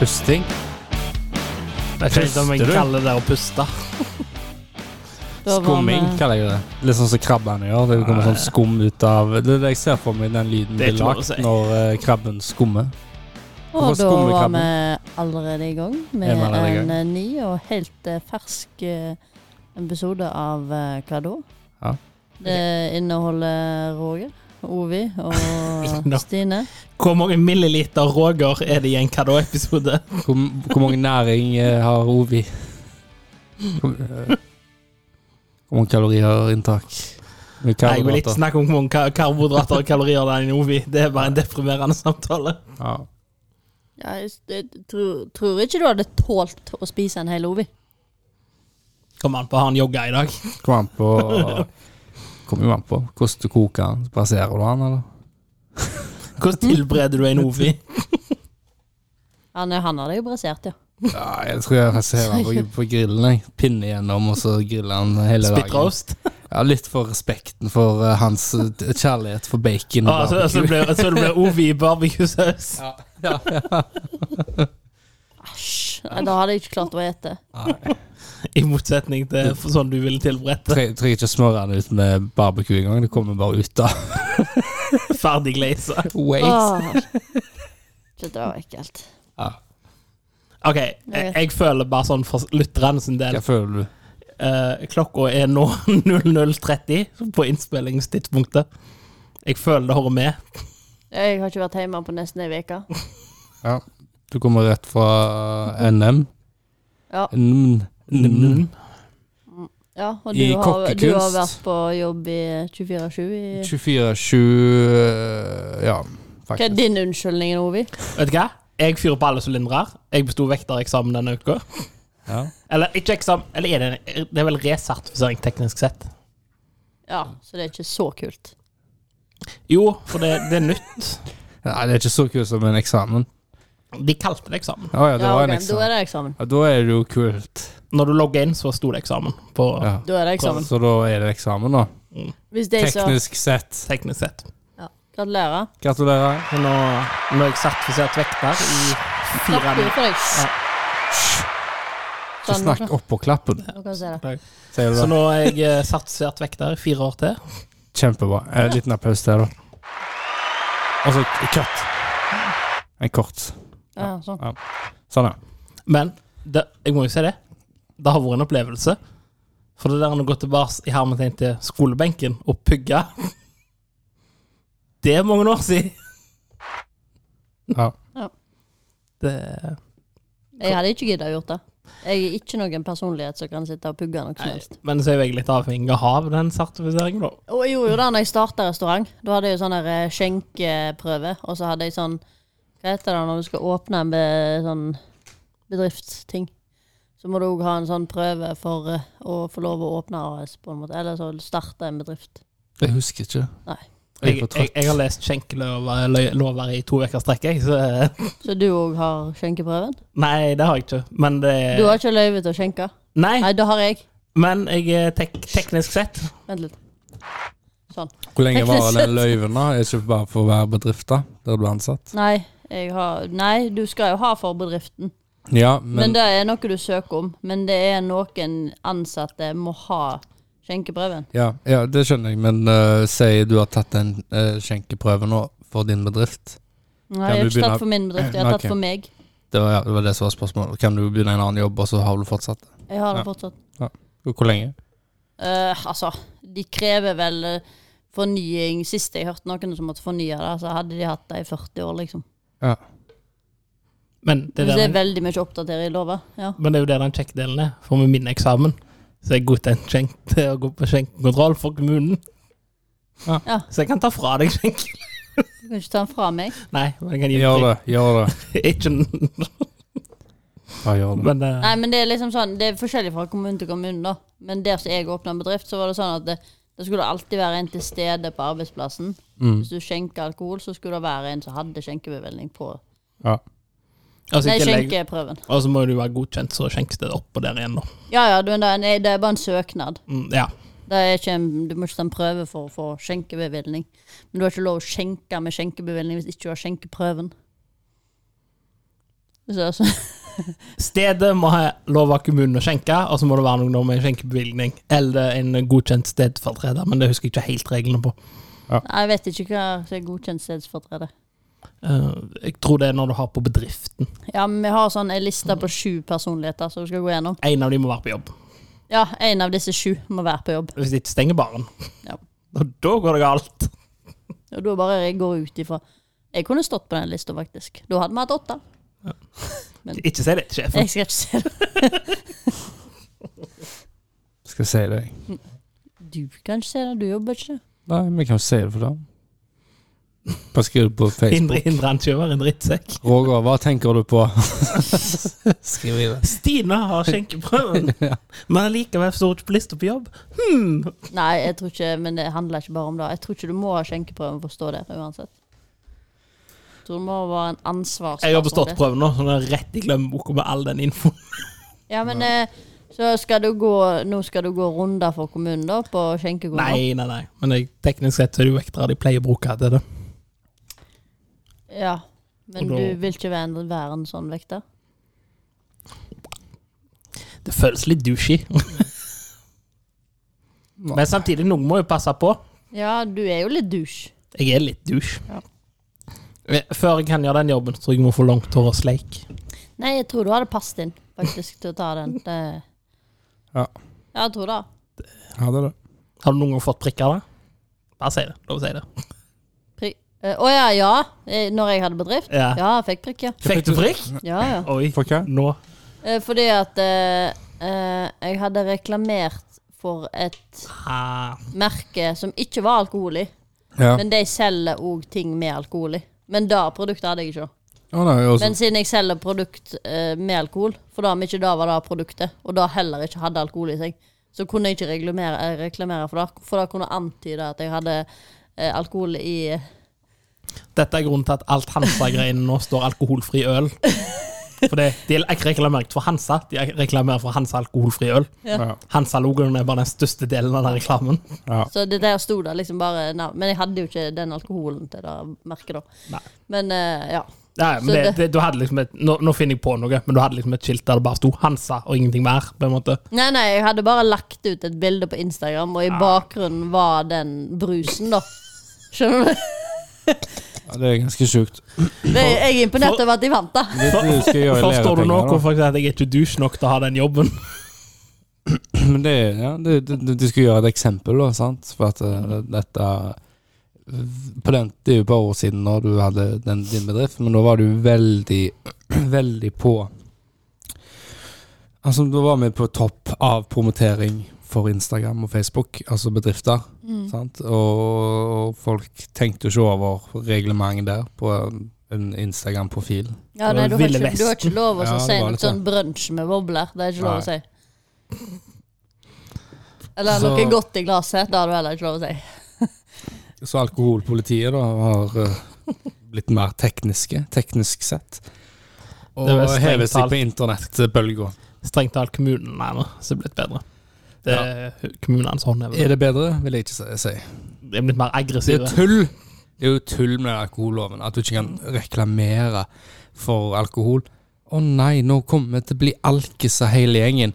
Pusting. Jeg vet ikke om jeg Puster du? kaller det å puste. Da var Skumming, vi- kaller jeg det. Litt sånn som krabbene gjør. Det kommer sånn skum ut av Det er det jeg ser for meg den lyden Det blir er ikke noe å lagt si. når eh, krabben skummer. Og Hvorfor da skummer var krabben? vi allerede i gang med Er vi allerede i en gang? eh, ny og helt eh, fersk eh, episode av eh, Hva da? Ja. Det inneholder Roger, Ovi og Nå. Stine. Hvor mange milliliter Roger er det i en Kadå-episode? Hvor, hvor mange næring eh, har Ovi? Hvor, eh, hvor mange kalorier har inntak? Hvor mye Nei, Jeg vil ikke karbohydrater? snakke om hvor mange ka- karbohydrater og kalorier det er i en Ovi. Det er bare en deprimerende samtale. Ja. Ja, jeg, jeg tror, tror ikke du hadde tålt å spise en hel Ovi. Kom an på, har han jogga i dag? Kommer an på Kommer jo an på hvordan du koker den. Braserer du den, eller? Hvordan tilbereder du en Ovi? Han, han hadde jo brasert, ja. Ja, jeg tror jeg braserer den på, på grillen. Jeg. Pinne gjennom, og så griller den hele dagen. Spyttroast? Ja, litt for respekten for eh, hans eh, kjærlighet for bacon. og Ah, så, altså, så, barbecue. det blir, så det blir Ovi i barbecue-saus? Ja, ja, ja. Æsj. Nei, Da hadde jeg ikke klart å ete. Nei, I motsetning til for sånn du ville tilberette. tre- trenger ikke smøre den ut med barbecue engang. Det kommer bare ut av Ferdig glaza. Wait. Åh. Så Det var ekkelt. Ja, OK, jeg, jeg føler bare sånn for lytterne sin del hva føler du? Eh, klokka er nå 00.30 på innspillingstidspunktet. Jeg føler det hører med. Jeg har ikke vært hjemme på nesten ei uke. Ja. Du kommer rett fra eh, NM. Ja. Mm, mm. Ja, og du I har, du har kokkekunst. vært på jobb i 24-7 i 24-7 eh, Ja, Hva er faktisk. din unnskyldning, Ovi? Vet du hva? Jeg fyrer på alle sylindere. Jeg besto vektereksamen denne uka. Ja. Eller ikke eksamen, eller er det, det er vel resertifisering teknisk sett. Ja, så det er ikke så kult. Jo, for det, det er nytt. Nei, det er ikke så kult som en eksamen. De kalte det eksamen. Å ja, det Ja, var en ok, Da er eksamen. det eksamen. Ja, da er det jo kult. Når du logger inn, så sto det eksamen på Ja. Da er det eksamen. Så da er det eksamen, da. Hvis de sa Teknisk sett. teknisk sett. ja. Gratulerer. Gratulerer. Men nå, nå er jeg sertifisert vekter i fire Klapp du for deg. Ja. Sånn. Ikke snakk oppå klappen, Nå kan jeg se det. sier du da. Så nå er jeg eh, sertifisert vekter i fire år til. Kjempebra. En liten applaus til, da. Og så cut. En kort. Ja, sånn. Sånn, ja. Men det, jeg må jo si det. Det har vært en opplevelse. For det der å gå tilbake i hermetegn til skolebenken og pugge Det er mange år siden. ja. Det, Jeg hadde ikke giddet å gjort det. Jeg er ikke noen personlighet som kan sitte og pugge noe som helst. men så er jo jeg litt avhengig av den sertifiseringen, da. Og jeg gjorde jo det når jeg starta restaurant. Da hadde jeg jo sånn der eh, skjenkeprøve, og så hadde jeg sånn Hva heter det når du skal åpne en be, sånn bedriftsting? Så må du òg ha en sånn prøve for eh, å få lov å åpne AS, på en måte. Eller så starte en bedrift. Jeg husker ikke. Nei. Jeg er Jeg, for jeg, trøtt. jeg har lest skjenkelover lø- lover i to uker strekk, jeg. Så Så du òg har skjenkeprøven? nei, det har jeg ikke. Men det Du har ikke løyve til å skjenke? Nei, Nei, det har jeg. men jeg er tek teknisk sett Vent litt. Sånn. Hvor lenge Teknisk varer den løyven, da? Er det ikke bare for å være bedrift, da? Der du er ansatt? Nei, jeg har, nei, du skal jo ha for bedriften. Ja, Men men det er noe du søker om. Men det er noen ansatte må ha skjenkeprøven. Ja, ja det skjønner jeg, men uh, si du har tatt en eh, skjenkeprøve nå for din bedrift. Nei, Kan jeg har du ikke begynne- tatt for min bedrift, jeg Nei, har ok. tatt for meg. Det var, ja, det var det som var spørsmålet. Kan du begynne en annen jobb, og så har du fortsatt? Jeg har det Ja. fortsatt. Og Hvor lenge? Eh, altså, de krever vel eh, fornying. Sist jeg hørte noen som måtte fornye det, så hadde de hatt det i 40 år, liksom. Ja. Men det Det, er det er der, veldig mye å oppdatere i lova. Ja. men det er jo der den kjekkdelen er. For med min eksamen så er jeg godkjent skjenk til å gå på skjenkekontroll for kommunen. Ja. Ja. Så jeg kan ta fra deg skjenken. Du kan ikke ta den fra meg. Nei, men jeg kan gi Gjør det, gjør det. det. Ikke, n- Ja, gjør det. men eh, Nei, men det er liksom sånn Det er forskjellig fra kommune til kommune, da. Men der som jeg åpna en bedrift, så var det sånn at det, det skulle alltid være en til stede på arbeidsplassen. Mm. Hvis du skjenker alkohol, så skulle det være en som hadde skjenkebevilgning på Ja. altså, Nei, ikke legg- skjenkeprøven. Og så må du være godkjent, så skjenkes det opp og der igjen, da. Ja, ja, du, nei, nei, det er bare en søknad. Mm, ja. Det er ikke en, du må ikke ta en prøve for å få skjenkebevilgning. Men du har ikke lov å skjenke med skjenkebevilgning hvis ikke du har skjenkeprøven. Så, så. Stedet må ha lov av kommunen å skjenke, og så må det være noe med en skjenkebevilgning. Eller en godkjent stedfortreder, men det husker jeg ikke helt reglene på. Nei, jeg vet ikke hva som er godkjent stedsfortreder. Eh, jeg tror det er når du har på bedriften. Ja, men vi har sånn en liste på sju personligheter som vi skal gå gjennom. En av de må være på jobb. Ja, en av disse sju må være på jobb. Hvis de ikke stenger baren. Ja. Og da går det galt. Og da bare jeg går ut ifra Jeg kunne stått på den lista, faktisk. Da hadde vi hatt åtte. Ikke si det til sjefen. Jeg skal ikke se det. Skal si det, jeg. Du kan ikke se det, du jobber ikke. Nei, vi kan jo si det for dem. Bare skriv det på Hindre, Facebook. hindre han ikke i å være en drittsekk. Roger, hva tenker du på? Skriv i det. Stine har skjenkeprøven, men likevel står hun ikke på lista på jobb. Hmm. Nei, jeg tror ikke, men det handler ikke bare om det. Jeg tror ikke du må ha skjenkeprøven for å stå der uansett. Jeg tror du må være en ansvarsperson. Jeg har bestått prøven nå, så den er rett i glemmeboka med all den infoen. Ja, men eh, så skal du gå Nå skal du gå runder for kommunen, da, på skjenkekontoret? Nei, nei, nei. Men jeg, teknisk sett så er det jo vektere de pleier å bruke til det. Ja. Men Og da- du vil ikke være en, være en sånn vekter? Det føles litt douchey. Men samtidig, noen må jo passe på. Ja, du er jo litt douche. Jeg er litt douche. Eh, Ja. Før jeg kan gjøre den jobben, så tror jeg jeg må få langt hår og sleik. Nei, jeg tror du hadde passet inn faktisk til å ta den. Det... Ja. Ja, jeg tror det. Ja, det er det. Har du noen gang fått prikker der? Bare si det. Lov å si det. Pri- eh, Å ja, ja. Eh, Når jeg hadde bedrift? Ja. Ja, jeg fikk prikk, ja. Fikk du prikk? Ja, ja. Oi, For hva? nå. Eh, Fordi at eh, eh, jeg hadde reklamert for et Ah, merke som ikke var alkohol i. Ja. Men de selger òg ting med alkohol i. Men det produktet hadde jeg ikke. Å, nei, også, Men siden jeg selger produkt eh, med alkohol, for da om ikke det var det produktet, og da heller ikke hadde alkohol i seg, så kunne jeg ikke reklamere, eh, reklamere for det. For da kunne jeg antyde at jeg hadde eh, alkohol i Dette er grunnen til at alt Hansa-greiene nå står alkoholfri øl. For det, De er ikke reklamert for Hansa, de er reklamert for Hansa alkoholfri øl. ja. Hansa-logoen er bare den største delen av den reklamen. Ja. Så det der sto det liksom bare navn. Men jeg hadde jo ikke den alkoholen til det merket, da. Nei. Men eh, ja. Ja, men Så det, det- det, du hadde liksom et, nå, nå finner jeg på noe, men du hadde liksom et skilt der det bare sto Hansa og ingenting mer. på en måte. Nei, nei, jeg hadde bare lagt ut et bilde på Instagram, og i bakgrunnen var den brusen, da. Skjønner du? ja, det er ganske sjukt. Det, jeg er imponert over at de vant, da. Det er det du skal gjøre i Forstår du nå leverpenger, da. hvorfor jeg sier at jeg er ikke douche nok til å ha den jobben? Men det, er- ja, det, det, det- du skulle gjøre et eksempel, da, sant? For at eh, dette på den, Det er jo et par år siden når du hadde den, din bedrift, men da var du veldig, veldig på Altså, da var vi på topp av promotering for Instagram og Facebook, altså bedrifter. Sant? Og, og folk tenkte jo ikke over reglementet der på en Instagram-profil. Ja, Det nei, var du, har Ville ikke, du har ikke lov å Ja, det si var noe litt sånn brunsj med bobler. Det er ikke lov å si. Eller Så- noe godt i glasset. Det har du heller ikke lov å si. Så alkoholpolitiet da har eh, blitt mer tekniske, teknisk sett. Og Det er vel hever strengt seg på internettbølga. Strengt talt kommunen er nå, så det er blitt bedre. Det er kommunens håndhevelse. Er det bedre, vil jeg ikke si- si. De er blitt mer Det er aggressive. tull! Det er jo tull med alkoholloven, at du ikke kan reklamere for alkohol. Å nei, nå kommer vi til å bli alkiser hele gjengen.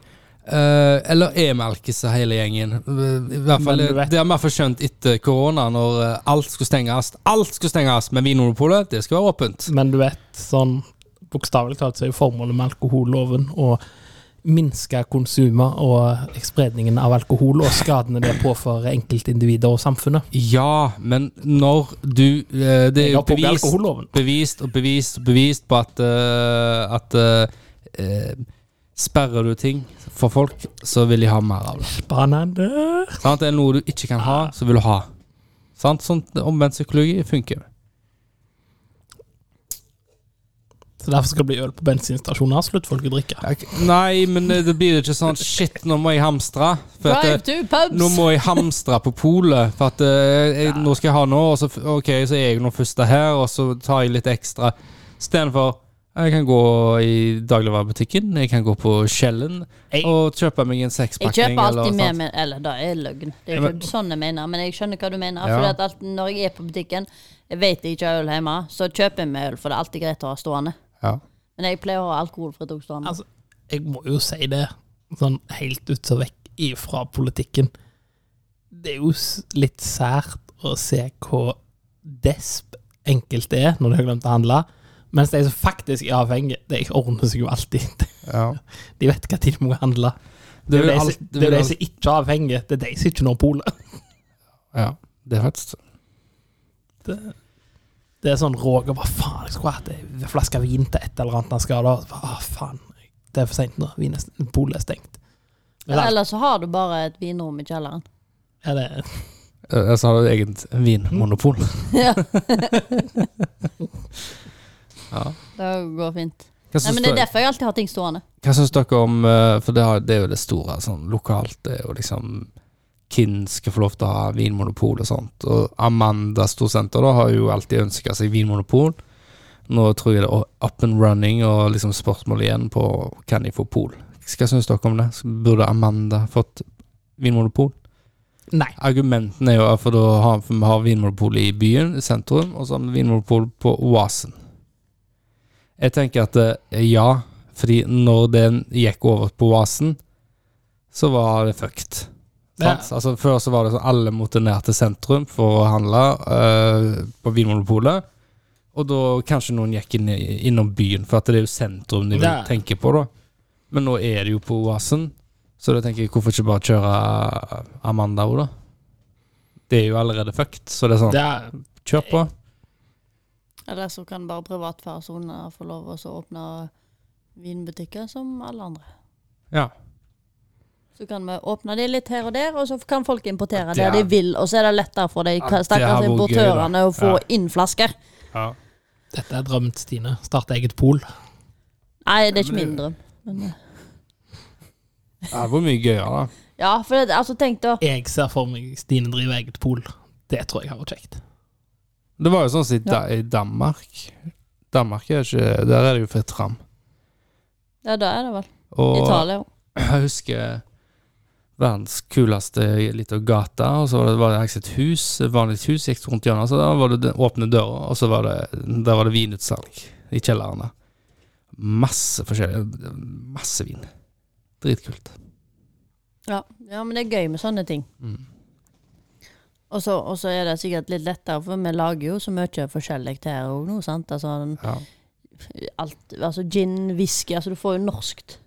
Eh, eller er vi alkiser hele gjengen? Eh, I hvert fall, Men du vet- Det har vi iallfall skjønt etter korona, når eh, alt skulle stenges. Alt skulle stenges, men Vinmonopolet, det skal være åpent. Men du vet, sånn bokstavelig talt så er jo formålet med alkoholloven å minske konsumet og spredningen av alkohol og skadene det påfører enkeltindivider og samfunnet. Ja, men når du eh, Det er Jeg jo har pågått bevist, alkoholloven. bevist og bevist og bevist på at, eh, at eh, eh, Sperrer du ting for folk, så vil de ha mer av det. Spennende. Sant? Er det noe du ikke kan ha, så vil du ha. Sant? Sånn omvendt psykologi funker. Så derfor skal det bli øl på bensinstasjoner. Slutt folk å drikke. Jeg- Nei, men eh, det blir ikke sånn Shit, nå må jeg hamstre. For at, eh, Drive to pubs! nå må jeg hamstre på polet, for at eh, jeg, nå skal jeg ha noe, og så, f- ok, så er jeg nå først her, og så tar jeg litt ekstra. Istedenfor jeg kan gå i dagligvarebutikken, jeg kan gå på Skjellen Jeg- og kjøpe meg en Jeg sekspakning. kjøper alltid eller med sånt. meg Eller det er løgn. Det Ja, er men- ikke sånn jeg mener, men jeg skjønner hva du Ja. mener. Fordi at alt, når jeg er på butikken, jeg vet jeg ikke har øl hjemme, så kjøper jeg meg øl, for det er alltid greit å ha stående. Ja. Men jeg pleier å ha alkoholfritt òg stående. Altså- Jeg må jo si det, sånn helt ut og vekk ifra politikken. Det er jo s- litt sært å se hvor desp enkelte er når de har glemt å handle. Mens de som faktisk er avhengige, det ordner seg jo alltid. Ja. De vet hva tid de må handle. Det Det er jo vil de alt- som- det er vil jo de alt- som ikke er avhengige, det er de som ikke når polet. Ja, det er faktisk Det, det er sånn Roger bare faen, jeg skulle hatt en flaske vin til et eller annet han skal ha. da." Så bare, Å, faen. Det er for seint nå. Vin er st- Polet er stengt. Men Eller alt så har du bare et vinrom i kjelleren. er det Eh, Altså har du eget vinmonopol. Ja, Ja. det går fint. Hva Nei, syns, men Det er dere- derfor jeg alltid har ting stående. hva syns dere om eh, For det, har, det er jo det store sånn, lokalt. Det er jo liksom Hvem skal få lov til å ha vinmonopol og sånt. Og Amanda Storsenter da har jo alltid ønska seg vinmonopol. Nå tror jeg det er up and running og liksom spørsmål igjen på kan de få pol. Hva syns dere om det? Burde Amanda fått vinmonopol? Nei. Argumentene er jo at for da har for vi har vinmonopol i byen, i sentrum, og så har vi vinmonopol på oasen. Jeg tenker at eh, ja, fordi når den gikk over på oasen, så var det fucked. Ja. Sant? Altså, før så var det sånn alle måtte ned til sentrum for å handle eh, på Vinmonopolet. Og da kanskje noen gikk inn, innom byen, for at det er jo sentrum de vil Det- tenke på, da. Men nå er det jo på Oasen, så da tenker jeg hvorfor ikke bare kjøre eh, Amanda òg, da? Det er jo allerede fucked, så det er sånn, Det er, kjør på. Eller så kan bare privatpersoner få lov å så åpne vinbutikker som alle andre. Ja. Så kan vi åpne de litt her og der, og så kan folk importere Ja, det det de er- vil. Og så er det lettere for de Ja, det har stakkars vært gøy, importørene da. å få Ja. inn flasker. ja. dette er drømmen til Stine. Starte eget pol. Nei, det er Ja, ikke men min drøm. Men, eh, Det hadde vært mye gøyere, da. ja, for det, altså, tenk da. Jeg ser for meg Stine driver eget pol. Det tror jeg har vært kjekt. Det var jo sånn som i, da, i Danmark. Danmark er ikke Der er det jo fritt fram. Ja, da er det vel. Og- Italia òg. Jeg husker verdens kuleste lita gate, og så var det, var det faktisk et hus, et vanlig hus, gikk rundt hjørnet, så der var det den åpne døra, og så var det, der var det vinutsalg i kjellerne. Masse forskjellig, masse vin. Dritkult. Ja. ja, men det er gøy med sånne ting. Mm. Og så og så er det sikkert litt lettere, for vi lager jo så mye forskjellig her òg nå, sant. Altså, Ja. alt, altså gin, whisky, altså du får jo norskt.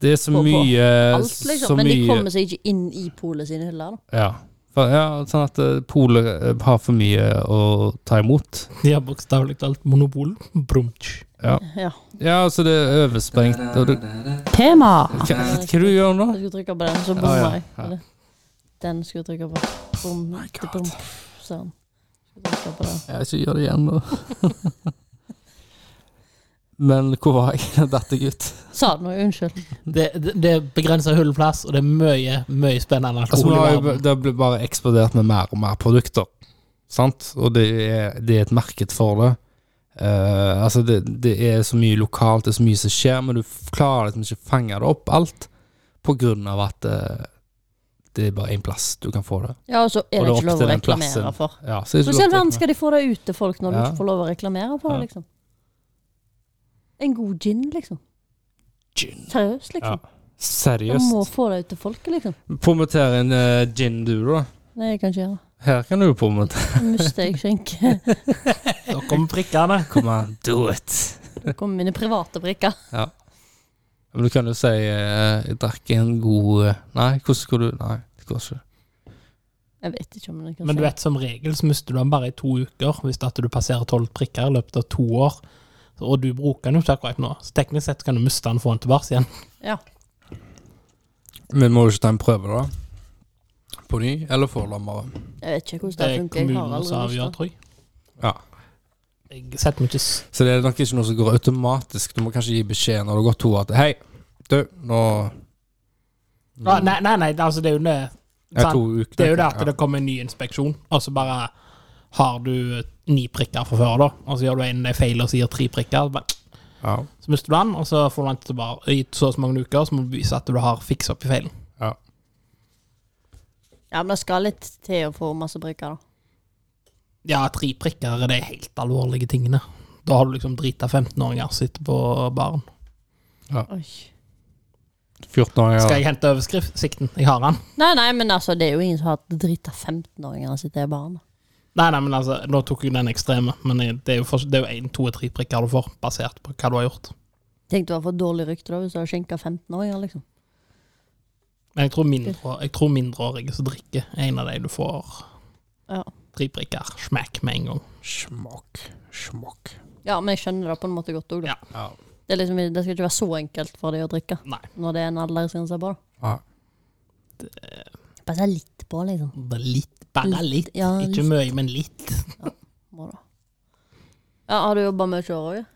Det er så På- på mye, Alt, så liksom. Men de mye, kommer seg ikke inn i polet sine hyller. da. ja. For, ja, sånn at eh, Polet eh, har for mye å ta imot. De har bokstavelig talt monopol. Brumtsj. Ja, Ja. ja så det er oversprengt. og det- Ah, Tema! Hva, hva du gjør nå? Jeg skulle trykke på den, så Ja, bomma ja, jeg. ja. Oh Eller, Den skulle jeg trykke på. Bom, God. bom, sånn. Skulle trykke på den. Ja, ikke gjør det igjen, da. Men hvor var jeg? Dette gutt. Sa du noe? Unnskyld. Det, det, det begrenser hullplass, og det er mye, mye spennende Altså, alkohol nå har i jo, verden. det blir bare eksplodert med mer og mer produkter. Sant? Og det er, det er et marked for det. Eh, altså det, det er så mye lokalt, det er så mye som skjer, men du f- klarer liksom ikke å fange det opp, alt, på grunn av at eh, det er bare én plass du kan få det. Ja, og så er Og det er det ikke opp lov å til den reklamere plassen. for. Ja, så er det ikke Hvordan i all lov verden til å- skal de få det ut til folk når du Ja. ikke får lov å reklamere for Ja. det, liksom? En god gin, liksom. Gin. Seriøst, liksom. Du må Seriøst. få det ut til folket, liksom. Promoter en eh, gin, du, da. Nei, jeg kan ikke gjøre det. Her kan du jo promotere. Da mister jeg skjenke. Da kommer prikkene. Come on, do it. Da kommer mine private brikker. Men du kan jo si eh, 'jeg drakk en god eh, Nei, hvordan skulle du Nei, det går ikke. Jeg vet ikke om det kan Men du si. vet, som regel så mister du den bare i to uker hvis at du passerer tolv prikker i løpet av to år. Og du bruker den jo ikke akkurat nå, så teknisk sett kan du miste den og få den tilbake igjen. Men må du ikke ta en prøve, da? På ny, eller får den bare? Jeg vet ikke hvordan Det det er funker. Jeg har kommunen som aldri avgjør, lyst til det. tror jeg. Ja. Jeg setter meg ikke s- Så det er nok ikke noe som går automatisk. Du må kanskje gi beskjed når det har gått to år at 'hei, du, nå Ah, Nei, nei, nei, altså det er jo det. er sant? to uker. Det er jo det at Ja. det kommer en ny inspeksjon, og så bare har du eh, ni prikker fra før, da. Og så gjør du en feil og så gir tre prikker. Så, bare, Ja. så mister du den, og så får du den tilbake i så og så mange uker, så må du vise at du har fiksa opp i feilen. Ja, men det skal litt til å få masse brikker, da. Ja, tre prikker er de helt alvorlige tingene. Da har du liksom drita 15-åringer som sitter på baren. Oi. 14-åringer. Skal jeg hente overskriften? Jeg har den. Nei, nei, men altså, det er jo ingen som har drita 15-åringer og sitter i baren. Nei, nei, men altså, nå tok jeg den ekstreme, men jeg- det er jo for- det er jo én, to og tre prikker du får, basert på hva du har gjort. Tenk du har fått dårlig rykte da hvis du har skjenka 15-åringer, liksom. Men jeg tror, mindre, jeg tror mindreårige som drikker, er en av de du får Ja. tre prikker smack med en gang. Smak. Smak. ja, men jeg skjønner det på en måte godt òg, da. Ja. Ja. Det, er liksom, det skal ikke være så enkelt for dem å drikke Nei. når det er en aldersgrense på. da. Ja. Bare se litt på, liksom. Bare litt. Bare litt. Ja, Ikke litt. mye, men litt. Må da. Ja, har du jobba mye år òg?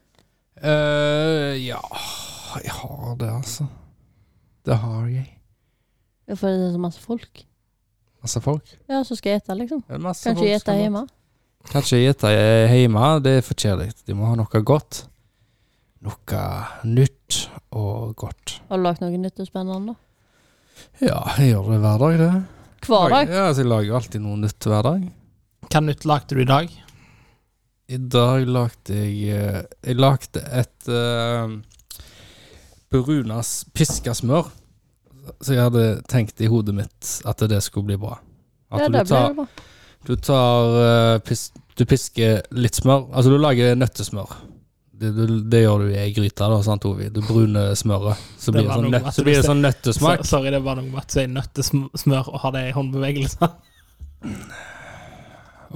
Eh, ja Jeg har det, altså. Det har jeg. Ja, for det er så masse folk. Masse folk. Ja, så skal jeg ete, liksom. Det er masse Kan folk ikke jeg ete som- hjemme? Kanskje gjete hjemme, det er for kjedelig. De må ha noe godt. Noe nytt og godt. Har du lagd noe nytt og spennende? da? Ja, jeg gjør det hver dag, det. Hver dag? Ja, altså, jeg lager alltid noe nytt hver dag. Hva nytt lagde du i dag? I dag lagde jeg eh, Jeg lagde et uh, brunas piska smør. Så jeg hadde tenkt i hodet mitt at det skulle bli bra. At Ja, du det blir tar, det bra. du tar eh, pis, Du pisker litt smør. Altså, du lager nøttesmør. Det, det, det gjør du i ei gryte, da, sant, Ovi? Du bruner smøret. Så Det blir det var sånn, noe nøtt, at så du blir det ser- sånn nøttesmak. Så- Sorry, det var noe med at du er nøttesmør og har det i håndbevegelser.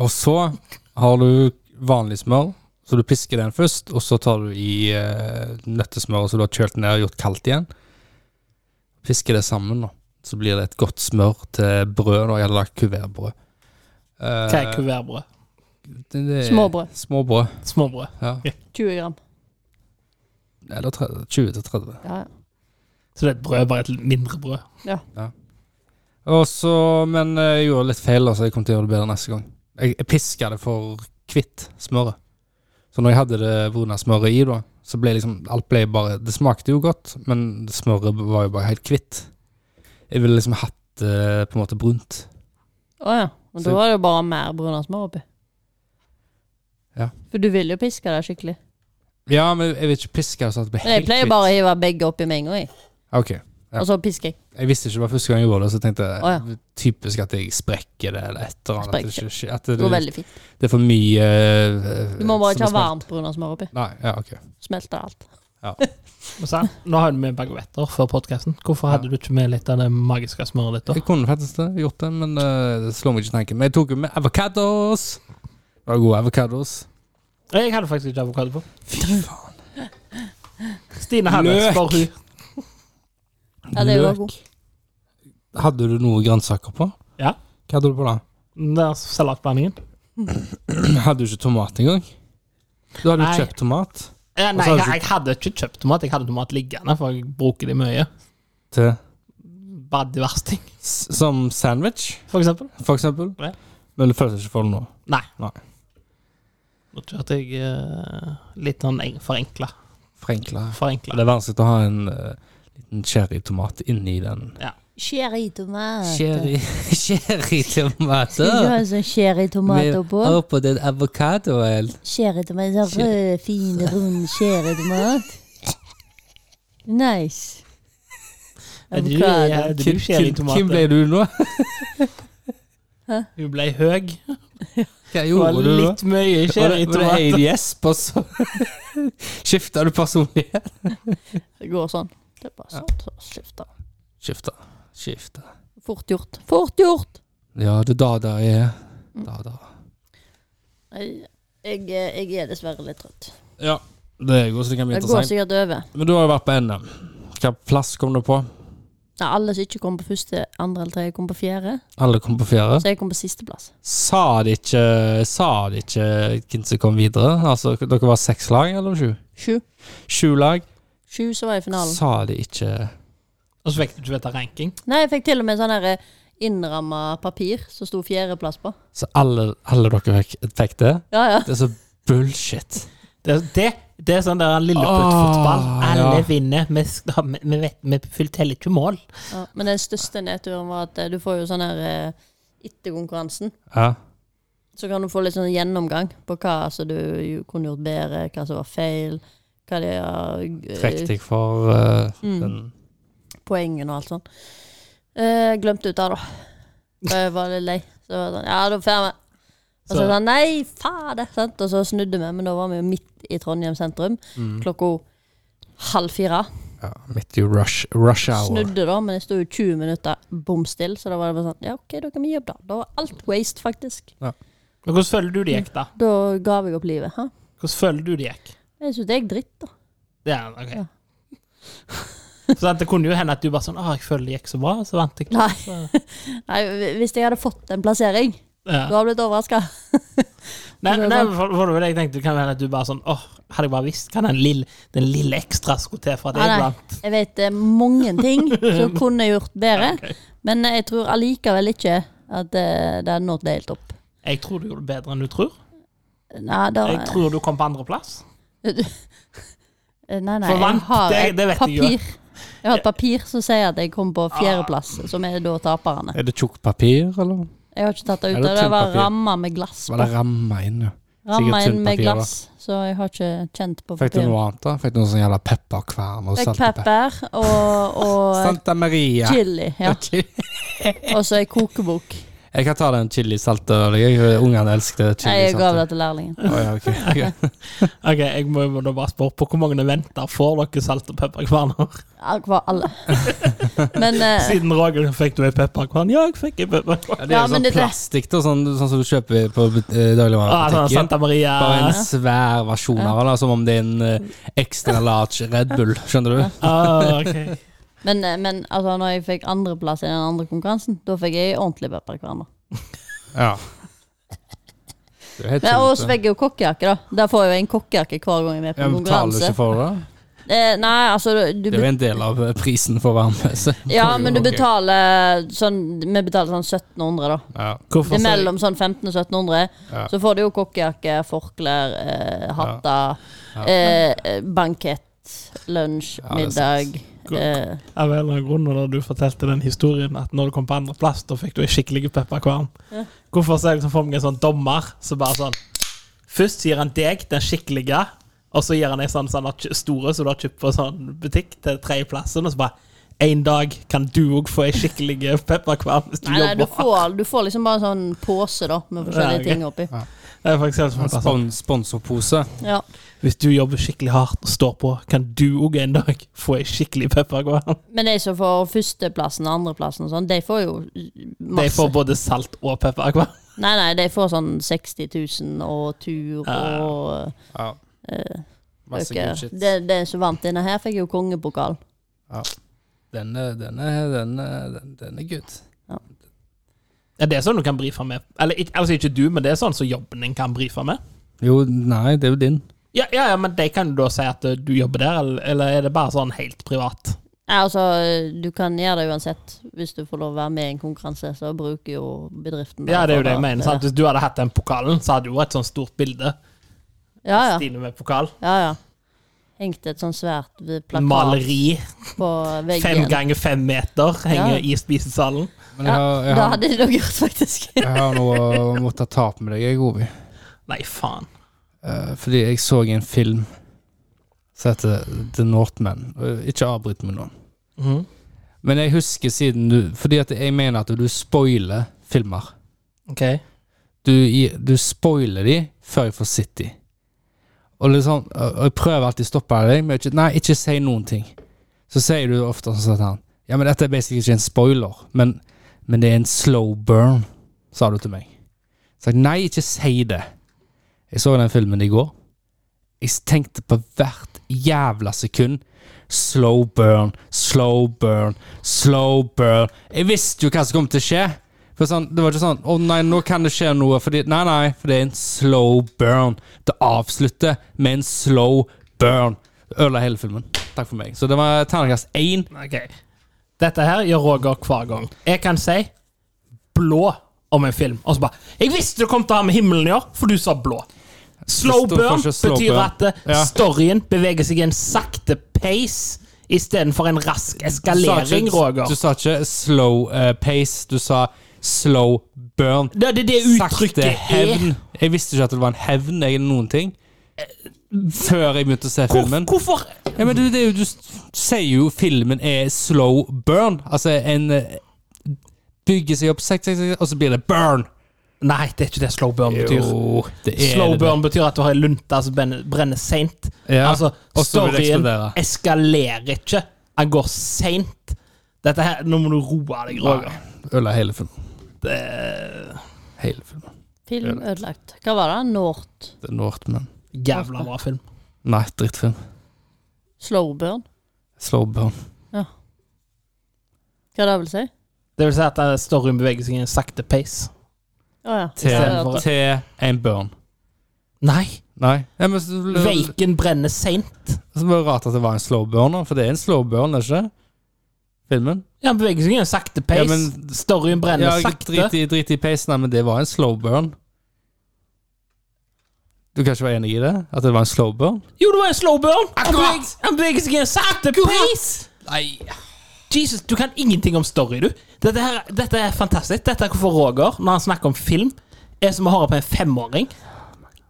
Og så har du vanlig smør, så du pisker den først, og så tar du i eh, nøttesmøret som du har kjølt ned og gjort kaldt igjen. Pisker det sammen, da. Så blir det et godt smør til brød. Da. Jeg hadde lagt kuvertbrød. Eh, Hva er kuvertbrød? det- det er- Småbrød. Småbrød, Småbrød. ja. 20 gram. Eller 30, 20 til 30. Ja, ja. Så det er et brød, bare et mindre brød. Og så, men eh, jeg gjorde litt feil, da, så jeg kommer til å gjøre det bedre neste gang. Jeg, jeg piska det for kvitt smøret. Så når jeg hadde det brune smøret i, da, så ble liksom alt ble bare Det smakte jo godt, men smøret var jo bare helt kvitt. Jeg ville liksom hatt det på en måte brunt. Å ja. Men da Så- var det jo bare mer brunasmør oppi. Ja. For du vil jo piske det skikkelig. Ja, men jeg vil ikke piske det sånn at det ble Men jeg helt pleier kvitt. Ah, bare å hive begge oppi med en gang, jeg. Ok. Ja. Og så pisker jeg. Jeg visste ikke det var første gang jeg gjorde det, så tenkte jeg Å, typisk at jeg sprekker det eller et eller annet. At det, Sprekker. ikke skjer- at det, Det går veldig fint. det er for mye eh, Du må bare ikke ha som er smelt. varmt brunasmør oppi. Nei, ja, ok. Smelter alt. Og så, nå har du med baguetter før podkasten. Hvorfor hadde du ikke med litt av det magiske smøret ditt? da? Jeg kunne faktisk det, gjort det, men eh, det slår meg ikke til å tenke. Men jeg tok jo med avokados. Det var gode avokados. Jeg hadde faktisk ikke avokado på. Fy faen. Stine hadde Løk! spør hun. Ja, det var god. Hadde du noe grønnsaker på? Ja. Hva hadde du på da? Den der salatblandingen. Hadde du ikke tomat engang? Du hadde Nei. jo kjøpt tomat Eh, Og nei, så hadde jeg, du- jeg hadde ikke kjøpt tomat. Jeg hadde tomat liggende, for jeg bruker de mye. til Bare diverse ting, s- som sandwich, for eksempel. for eksempel. Ja. Men det føles ikke for det nå. Nei. Nei. Nå kjørte jeg eh, litt sånn eng- forenkla. Forenkla. Forenkla. Det er vanskelig å ha en eh, liten cherrytomat inni den. Cherrytomat. Skal du ha Cherrytomater? sånn cherrytomat oppå? Oppå den avokadoen. Cherrytomat. Sånn rød, fin, rund cherrytomat. Nice. Er du- er Avokado. du cherrytomater? Hvem ble du nå? Hun ble høy. Hva Det var gjorde du da? litt mye Var det- Var det cherrytomater. en gjesp, og så skifta du personlighet? Det går sånn. Det er bare sånn. Så skifter. Skifta. Skifta. Fort gjort. Fort gjort! Ja, det er da det er. Da, da. Nei, Jeg, jeg er dessverre litt trøtt. Ja, det går så det kan bli Det går interessant. sikkert over. Men du har jo vært på NM. Hvilken plass kom du på? Nei, alle som ikke kom på første, andre eller tredje, kom på fjerde. Alle kom på fjerde. Så jeg kom på sisteplass. Sa de ikke, sa de ikke hvem som kom videre? Altså, dere var seks lag, eller sju? Sju. Sju lag. Sju som var i finalen. Sa de ikke Og så fikk du ikke vite ranking. Nei, jeg fikk til og med sånn her innramma papir som sto fjerdeplass på. Så alle, alle dere fikk, fikk det? Ja, ja. Det er så bullshit. Det, det, det er sånn der lilleputt-fotball. Ah, Alle ja. vinner. Vi, sk- ha- vi, vi, vet, vi fyller teller ikke mål. Ja, men den største nedturen var at eh, du får jo sånn her eh, etter konkurransen. Ja. Så kan du få litt sånn gjennomgang på hva som du jo kunne gjort bedre, hva som var feil, hva de har eh, Trekk deg for eh, Mm. den poengene og alt sånn. Eh, glemte ut av det, da. Jeg var litt lei. Så var det sånn, ja, da får vi. Og så Så- sånn, nei, faen det, sant? Og så snudde vi, men da var vi jo midt i Trondheim sentrum. mm. Klokka halv fire. ja, Midt i rush, rush hour. Snudde da, men jeg sto jo 20 minutter bom stille, så da var det bare sånn, ja ok, da kan vi gi opp da. Da var alt waste, faktisk. Men hvordan føler du det gikk, da? Da ga jeg opp livet, hæ? Hvordan føler du det gikk? Jeg synes det gikk dritt da. Ja, ok. Ja. så at det kunne jo hende at du bare sånn Å, jeg føler det gikk så bra, så vant jeg. Nei. Så- Nei, hvis jeg hadde fått en plassering, Ja. da hadde jeg blitt overrasket. Nei, Det er sånn- nei sant. for, for det var det jeg tenkte, det kan være at du bare sånn åh, hadde jeg bare visst hva den lille, den lille ekstra skulle til for at Nei, jeg nei. vant. Jeg vet eh, mange ting som kunne jeg gjort bedre, men jeg tror allikevel ikke at eh, det hadde nådd det helt opp. Jeg tror du gjorde det bedre enn du tror. Nei, da, Jeg tror du kom på andreplass. Eh, nei, nei, For jeg vant, har det- et det vet jeg jo. Ah. papir. Jeg har et papir som sier at jeg kom på fjerdeplass, som er da taperne. Er det tjukt papir, eller? Jeg har ikke tatt det Er det ut. Det, det tynt var papir? ramma med glass. Var det på. ramma inn, ja? Ramma sikkert inn tynt med papir, da? glass, så jeg har ikke kjent på Fikk du papir. noe annet, da? Fikk du noe sånn jævla pepperkvern og Det er saltpepper? pepper og, og Santa Maria. chili. Ja. Og chili. Og så ei kokebok. Jeg kan ta den chilisaltølen. jeg. eh, Ungene elsket Nei, jeg gav det chilisaltøl. til lærlingen. Å, ja, ok. Ok. Ok, Jeg må jo da bare spørre på hvor mange venter får dere salt og pepperkverner? Ja, det var alle. Men eh, Siden Roger fikk du en pepperkvern. Ja, jeg fikk en pepperkvern. Ja, det er Ja, jo men sånn det- plastikk, da, sånn, sånn som du kjøper på eh, Ah, sånn dagligvarebutikken. Santa Maria Bare en svær versjon av det, da, som om det er en eh, extra large Red Bull, skjønner du? ah, ok. Men, men altså, når jeg fikk andreplass i den andre konkurransen, da fikk jeg ordentlig pepperkvern. da. Ja. Det er helt Men- Og sjukt, det. så fikk jeg jo kokkejakke, da. Der får jeg jo en kokkejakke hver gang jeg er med på Jeg betaler konkurranse. ikke for det. Eh, nei, altså du, Det er jo en del av eh, prisen for å være med. så- Ja, men du Ok. betaler sånn Vi betaler sånn 1700, da. Ja. Hvorfor Det så- er mellom sånn 15 og 1700. Ja. Så får du jo kokkejakke, forklær, eh, hatter, eh, eh, bankett, lunsj, Ja, det er middag. Ko- Eh, Av en eller annen grunn når du fortalte den historien at når du kom på andreplass, da fikk du en skikkelig pepperkvern. Hvorfor ser jeg liksom for meg en sånn dommer som bare sånn Først gir han deg den skikkelige, og så gir han en sånn, sånn at- store som du har kjøpt på sånn butikk, til tredjeplassen, og så bare En dag kan du òg få en skikkelig pepperkvern hvis du nei, nei, du jobber. får, du får liksom bare en sånn pose, da, med Ja, forskjellige ok. ting oppi. Det er faktisk helt sånn, bare sånn, Spon sponsorpose. Ja. hvis du jobber skikkelig hardt og står på, kan du òg en dag få en skikkelig pepperkvern. Men de som får førsteplassen og andreplassen og sånn, de får jo De masse. får både salt og pepperkvern. Nei, nei, de får sånn 60 000 og tur Ja. og Ja. eh, Masse bøker. good shit. Det, det som vant denne her, fikk jo kongepokal. Den er, den er, den er, den- den er good. Ja, det er sånn du kan brife med. Eller ikke- altså ikke du, men det er sånn som jobben din kan brife med. Jo, nei, det er jo din. Ja, ja, ja, men de kan jo da si at eh, du jobber der, eller, eller er det bare sånn helt privat? Nei, altså, du kan gjøre det uansett. Hvis du får lov å være med i en konkurranse, så bruker jo bedriften Ja, det er jo for det jeg mener. Sant? Hvis du hadde hatt den pokalen, så hadde du jo et sånt stort bilde. Ja, ja. Stine med pokal. ja, ja. Hengte et sånn svært plakat Maleri. på Fem veggen. ganger fem meter henger Ja. i spisesalen. Men jeg Ja, har, jeg Det har, hadde de nok gjort, faktisk. jeg har noe å måtte ta opp med deg, jeg, Ovi. Nei, faen. Eh, fordi jeg så en film som heter The Northman. Eh, Ikke avbryt meg nå. Mhm. Men jeg husker siden du Fordi at jeg mener at du spoiler filmer. Ok. Du, i- du spoiler de før jeg får sett de. Og liksom, og jeg prøver alltid å stoppe deg, men ikke, nei, ikke si noen ting. Så sier du ofte sånn som han Ja, men dette er basically ikke en spoiler, men, men det er en slow burn, sa du til meg. Så jeg nei, ikke si det. Jeg så den filmen i går. Jeg tenkte på hvert jævla sekund. Slow burn, slow burn, slow burn. Jeg visste jo hva som kom til å skje. For sånn, det var ikke sånn 'Å nei, nå kan det skje noe', fordi Nei, nei, for det er en slow burn. Det avslutter med en slow burn. Ødela hele filmen. Takk for meg. Så det var terningkast én. Ok. Dette her gjør Roger hver gang. Jeg kan si blå om en film, og så bare 'Jeg visste du kom til å ha med himmelen å gjøre, for du sa blå'. Slow Det står burn kanskje slow betyr burn. at eh, Ja. storyen beveger seg i en sakte pace istedenfor en rask Du sa ikke- eskalering, Roger. Du sa ikke slow eh, pace. Du sa slow burn. Det er det, det uttrykket Sakte er. hevn. Jeg visste ikke at det var en hevn eller noen ting. Før jeg begynte å se Hvor, filmen. hvorfor Ja, men det, det er jo, du s- sier jo filmen er slow burn. Altså en eh, bygger seg opp, sek, sek, sek, og så blir det burn. Nei, det er ikke det slow burn betyr. det er slow det. burn betyr at du har en lunte som brenner- brenner seint. Ja. altså, og så vil det storyen eksplodere. eskalerer ikke. Han går seint. Dette her, Nå må du roe deg, Roger. Ødela hele filmen. Det, Hele filmen. Film ødelagt. Hva var det? Nort Det er Northman. jævla bra film. Nei, drittfilm. Slowburn? Slow burn. Hva det vil si? Det vil si at eh, storyen beveger seg i en sakte pace. Å ja. Til, Jeg ser at- til en burn. Nei, Nei. Ja, men så, veiken brenner seint. så var det rart at det var en slow burn, da, for det er en slow burn, er det ikke? Filmen? Ja, Han beveger seg i en sakte Ja, pace. men- storyen brenner Ja, sakte. Drit i, drit i peisen, her, men det var en slow burn. Du kan ikke være enig i det? At det var en slow burn? Jo, det var en slow burn. Han Akkurat. beveger, han beveger seg i en sakte pace. Nei Jesus, du kan ingenting om story, du. Dette, her, dette er fantastisk. Dette er hvorfor Roger, når han snakker om film, er som å høre på en femåring.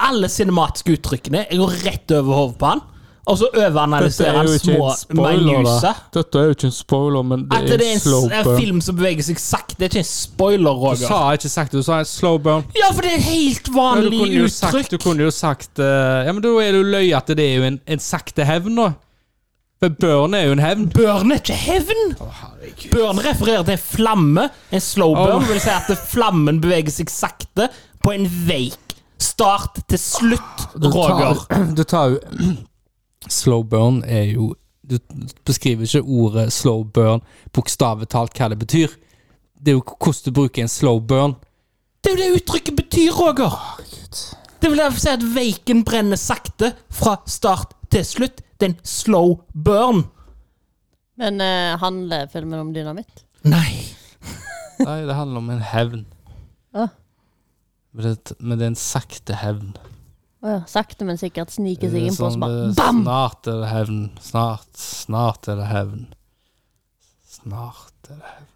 Alle cinematiske uttrykkene jeg går rett over hodet på han, og så overanalyserer han små minuser. Dette er jo ikke en spoiler, men det At er det en er slow en, en burn. film som beveger seg sakte, det er ikke en spoiler, Du Roger. sa ikke sakte, du sa en slow burn. Ja, for det er helt Ja, du, vanlig kunne jo sagt, uttrykk. du kunne jo sagt eh, Ja, men da er det jo løye at det er jo en, en sakte hevn, da. For burn er jo en hevn. Børn er ikke hevn. Børn refererer til en flamme. En slow burn Åh. vil si at flammen beveger seg sakte på en veik start til slutt, Du Roger. Tar, du tar jo Slow burn er jo Du beskriver ikke ordet slow burn bokstavelig talt hva det betyr. Det er jo hvordan du bruker en slow burn. Det er jo det uttrykket betyr, Roger. Det vil si at veiken brenner sakte fra start til slutt. Det er en slow burn. Men eh, handler filmen om dynamitt? Nei. Nei, det handler om en hevn. Ja. Men det, men det er en sakte hevn. Å ja. Sakte, men sikkert sniker Det seg er innpå oss. sånn, bare. det- bam! Snart er det hevn. Snart, snart er det hevn. Snart er det hevn.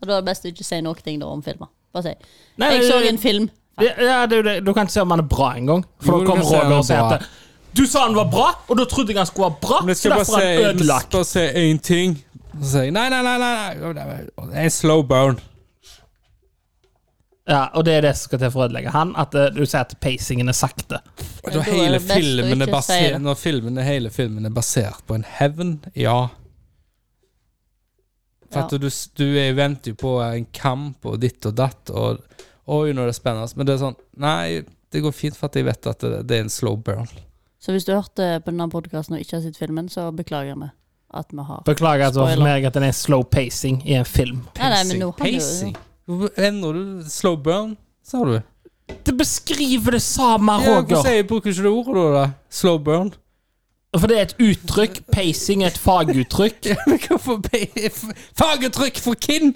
Og Da er det best å ikke si noen ting da om filmer. Bare si Nei, 'Jeg så det- en film'. det- ja, det er jo det. Du kan ikke se om han er bra engang. For Jo, da du kommer kan se om Roger og han er sier bra. at du sa han var bra, og da trodde jeg han skulle være bra. Så derfor er han ødelagt. bare si én ting. Så sier jeg nei, nei, nei, nei, nei. Det er en slow burn. Ja, og det er det som skal til for å ødelegge han. At eh, du sier at pacingen er sakte. Og Da Ja, da er hele det best å filmen er ikke si basert, det. når filmen, hele filmen er basert på en hevn, ja. For Ja. at du, s- du er- venter jo på en kamp og ditt og datt, og oi, nå er det spennende. Men det er sånn Nei, det går fint, for at jeg vet at det, det er en slow burn. Så hvis du hørte på denne podkasten og ikke har sett filmen, så beklager vi at vi har Beklager altså for Spoiler. meg at den er slow pacing i en film. Nei, nei, men nå har du- Pacing. Hvorfor Endrer du slow burn, sa du? Det beskriver det samme, Ja, Hvorfor Roger. sier jeg bruker ikke det ordet, da? da? Slow burn? For det er et uttrykk. Pacing er et faguttrykk. Ja, men Hvorfor pa- f- Faguttrykk for hvem?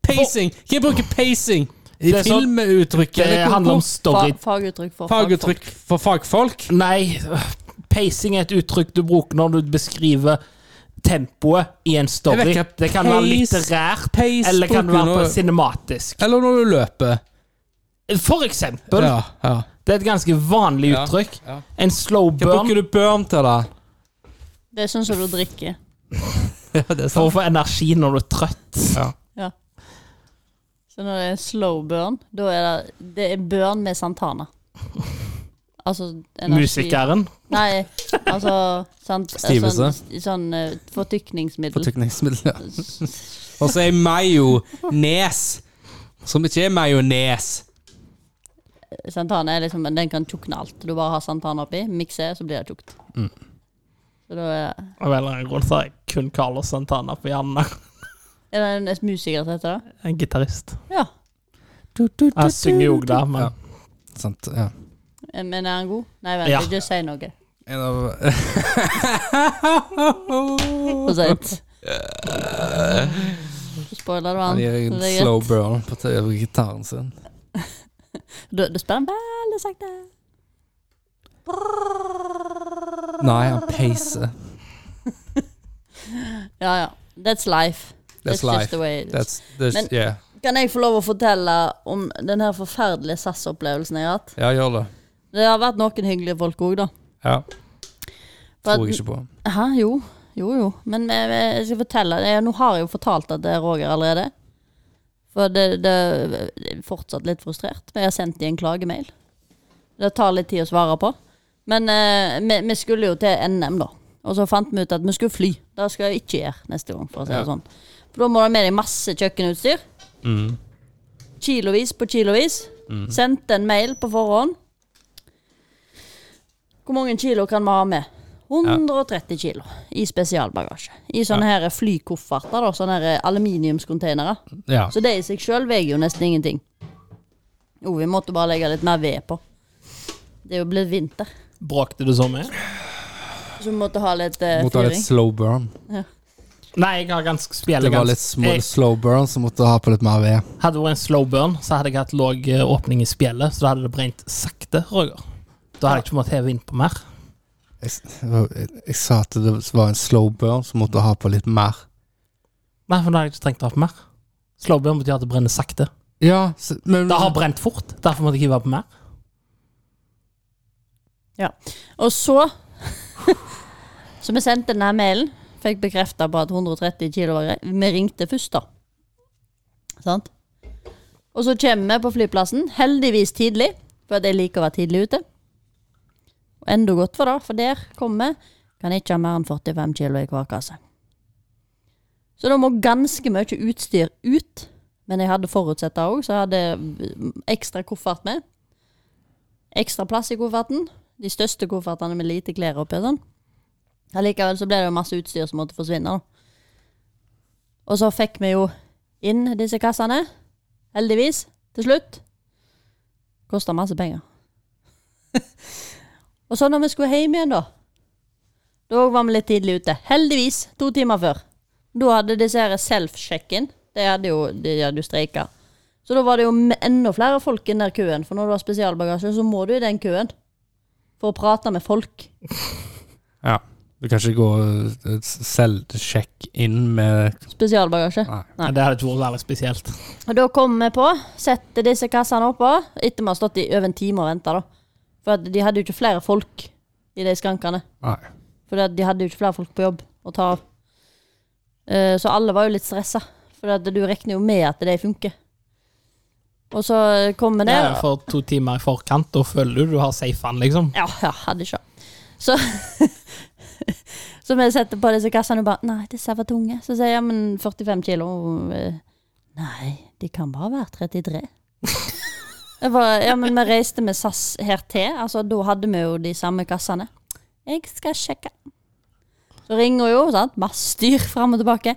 Pacing. Hvem bruker pacing? I Det er sånn- filmuttrykk. Det eller hvor- handler om hvor- story... Fa- sånn faguttrykk for fagfolk. Faguttrykk for fagfolk. Nei, pacing er et uttrykk du bruker når du beskriver tempoet i en story. Jeg vet ikke, Det kan være pace- litterært, pace eller kan bruker være du på nå- cinematisk. Eller når du løper. For eksempel. Ja, ja. Det er et ganske vanlig Ja, uttrykk. ja. En slow Hva burn bruker du burn til, da? Det er sånn som du drikker. Ja, det er for å få energi når du er trøtt. Ja. Så når det er slow burn, da er det, det er burn med Santana. Altså energi- Musikeren. Nei, altså sant, Stivelse. Sånn, sånn eh, fortykningsmiddel. Fortykningsmiddel. Ja. Og så er majones, som ikke er majones. Santana er liksom Den kan tjukne alt. Du bare har Santana oppi, mikser, så blir det tjukt. Mm. Så da eh, er, Av en eller annen grunn så har jeg kun Carlos Santana på hjernen. er det en en musiker som heter det? En gitarist. Ja. Ah, Han synger jo òg da, men Ja. Sant, ja. Eh, Men er han god? Nei, vent, Ja. ikke si noe. En av For seint. Så spoiler du Han han. gir så en det er slow greit. burn på t- over gitaren sin. Du, du spiller han veldig sakte. Nei, han peiser. Ja, ja. That's life. That's That's, just life. the way it is. That's, that's, Men- yeah. Kan jeg få lov å fortelle om den her forferdelige SAS-opplevelsen jeg har hatt? Ja, gjør det. Det har vært noen hyggelige folk òg, da. Ja. For Tror at- jeg ikke på. Hæ, jo. Jo, jo. Men jeg, jeg skal fortelle jeg, Nå har jeg jo fortalt at det er Roger allerede. For det, det jeg er fortsatt litt frustrert. Men jeg har sendt dem en klagemail. Det tar litt tid å svare på. Men eh, vi, vi skulle jo til NM, da. Og så fant vi ut at vi skulle fly. Det skal jeg ikke gjøre neste gang. For å si det Ja. sånn For da må du ha med deg masse kjøkkenutstyr. Mm. Kilovis på kilovis. Sendte en mail på forhånd. Hvor mange kilo kan vi ha med? 130 kilo i spesialbagasje. I sånne her flykofferter, da, sånne her aluminiumskonteinere. Ja. Så det i seg sjøl veier jo nesten ingenting. Jo, vi måtte bare legge litt mer ved på. Det er jo blitt vinter, Brakte du så mye? så vi måtte ha litt eh, Måtte ha litt fyring. slow burn. Nei, jeg har ganske spjeldet Det var ganske- litt små, Jeg- slow burn, så måtte ha på litt mer ved. Hadde det vært en slow burn, så hadde jeg hatt lav åpning i spjeldet, så da hadde det brent sakte, Roger. Da hadde jeg ikke måttet heve innpå mer. Jeg, s- jeg, jeg sa at det var en slow burn, så måtte jeg ha på litt mer. Nei, for da hadde jeg ikke trengt å ha på mer. Slow burn betyr at det brenner sakte. Ja, s- men Det har brent fort, derfor måtte jeg hive på mer. Og så Så vi sendte denne mailen. Fikk bekrefta på at 130 kilo var greit. Vi ringte først, da. Sant? Og så kommer vi på flyplassen, heldigvis tidlig, for at jeg liker å være tidlig ute. Og enda godt for det, for der kommer vi. Kan ikke ha mer enn 45 kilo i hver kasse. Så da må ganske mye utstyr ut. Men jeg hadde forutsett det òg, så jeg hadde eh, ekstra koffert med. Ekstra plass i kofferten. De største koffertene med lite klær oppi og sånn. Allikevel så ble det jo masse utstyr som måtte forsvinne. Da. Og så fikk vi jo inn disse kassene, heldigvis, til slutt. Kosta masse penger. og så når vi skulle hjem igjen, da Da var vi litt tidlig ute. Heldigvis, to timer før. Da hadde disse her self-check-in. De hadde jo, de hadde jo streika. Så da var det jo m- enda flere folk i den der køen, for når du har spesialbagasje, så må du i den køen for å prate med folk. Ja. Du kan ikke gå eh, s- selvsjekk inn med Spesialbagasje. Nei. Nei. Det hadde ikke vært særlig spesielt. Og da kommer vi på, setter disse kassene oppå, etter vi har stått i over en time og venta, da. For at de hadde jo ikke flere folk i de skrankene. Nei. For at de hadde jo ikke flere folk på jobb å ta av. Eh, Så alle var jo litt stressa, for at du regner jo med at de funker. Og så kommer vi Det der. er for to timer i forkant, da føler du du har safen, liksom. Ja, ja, hadde ikke det. Så, så vi setter på disse kassene og bare Nei, disse var tunge. Så sier jeg, ja, men 45 kilo eh, Nei, de kan bare være 33. Jeg bare, ja, men vi reiste med SAS her til. Altså, da hadde vi jo de samme kassene. Jeg skal sjekke. Så ringer jo, sant. Masse styr fram og tilbake.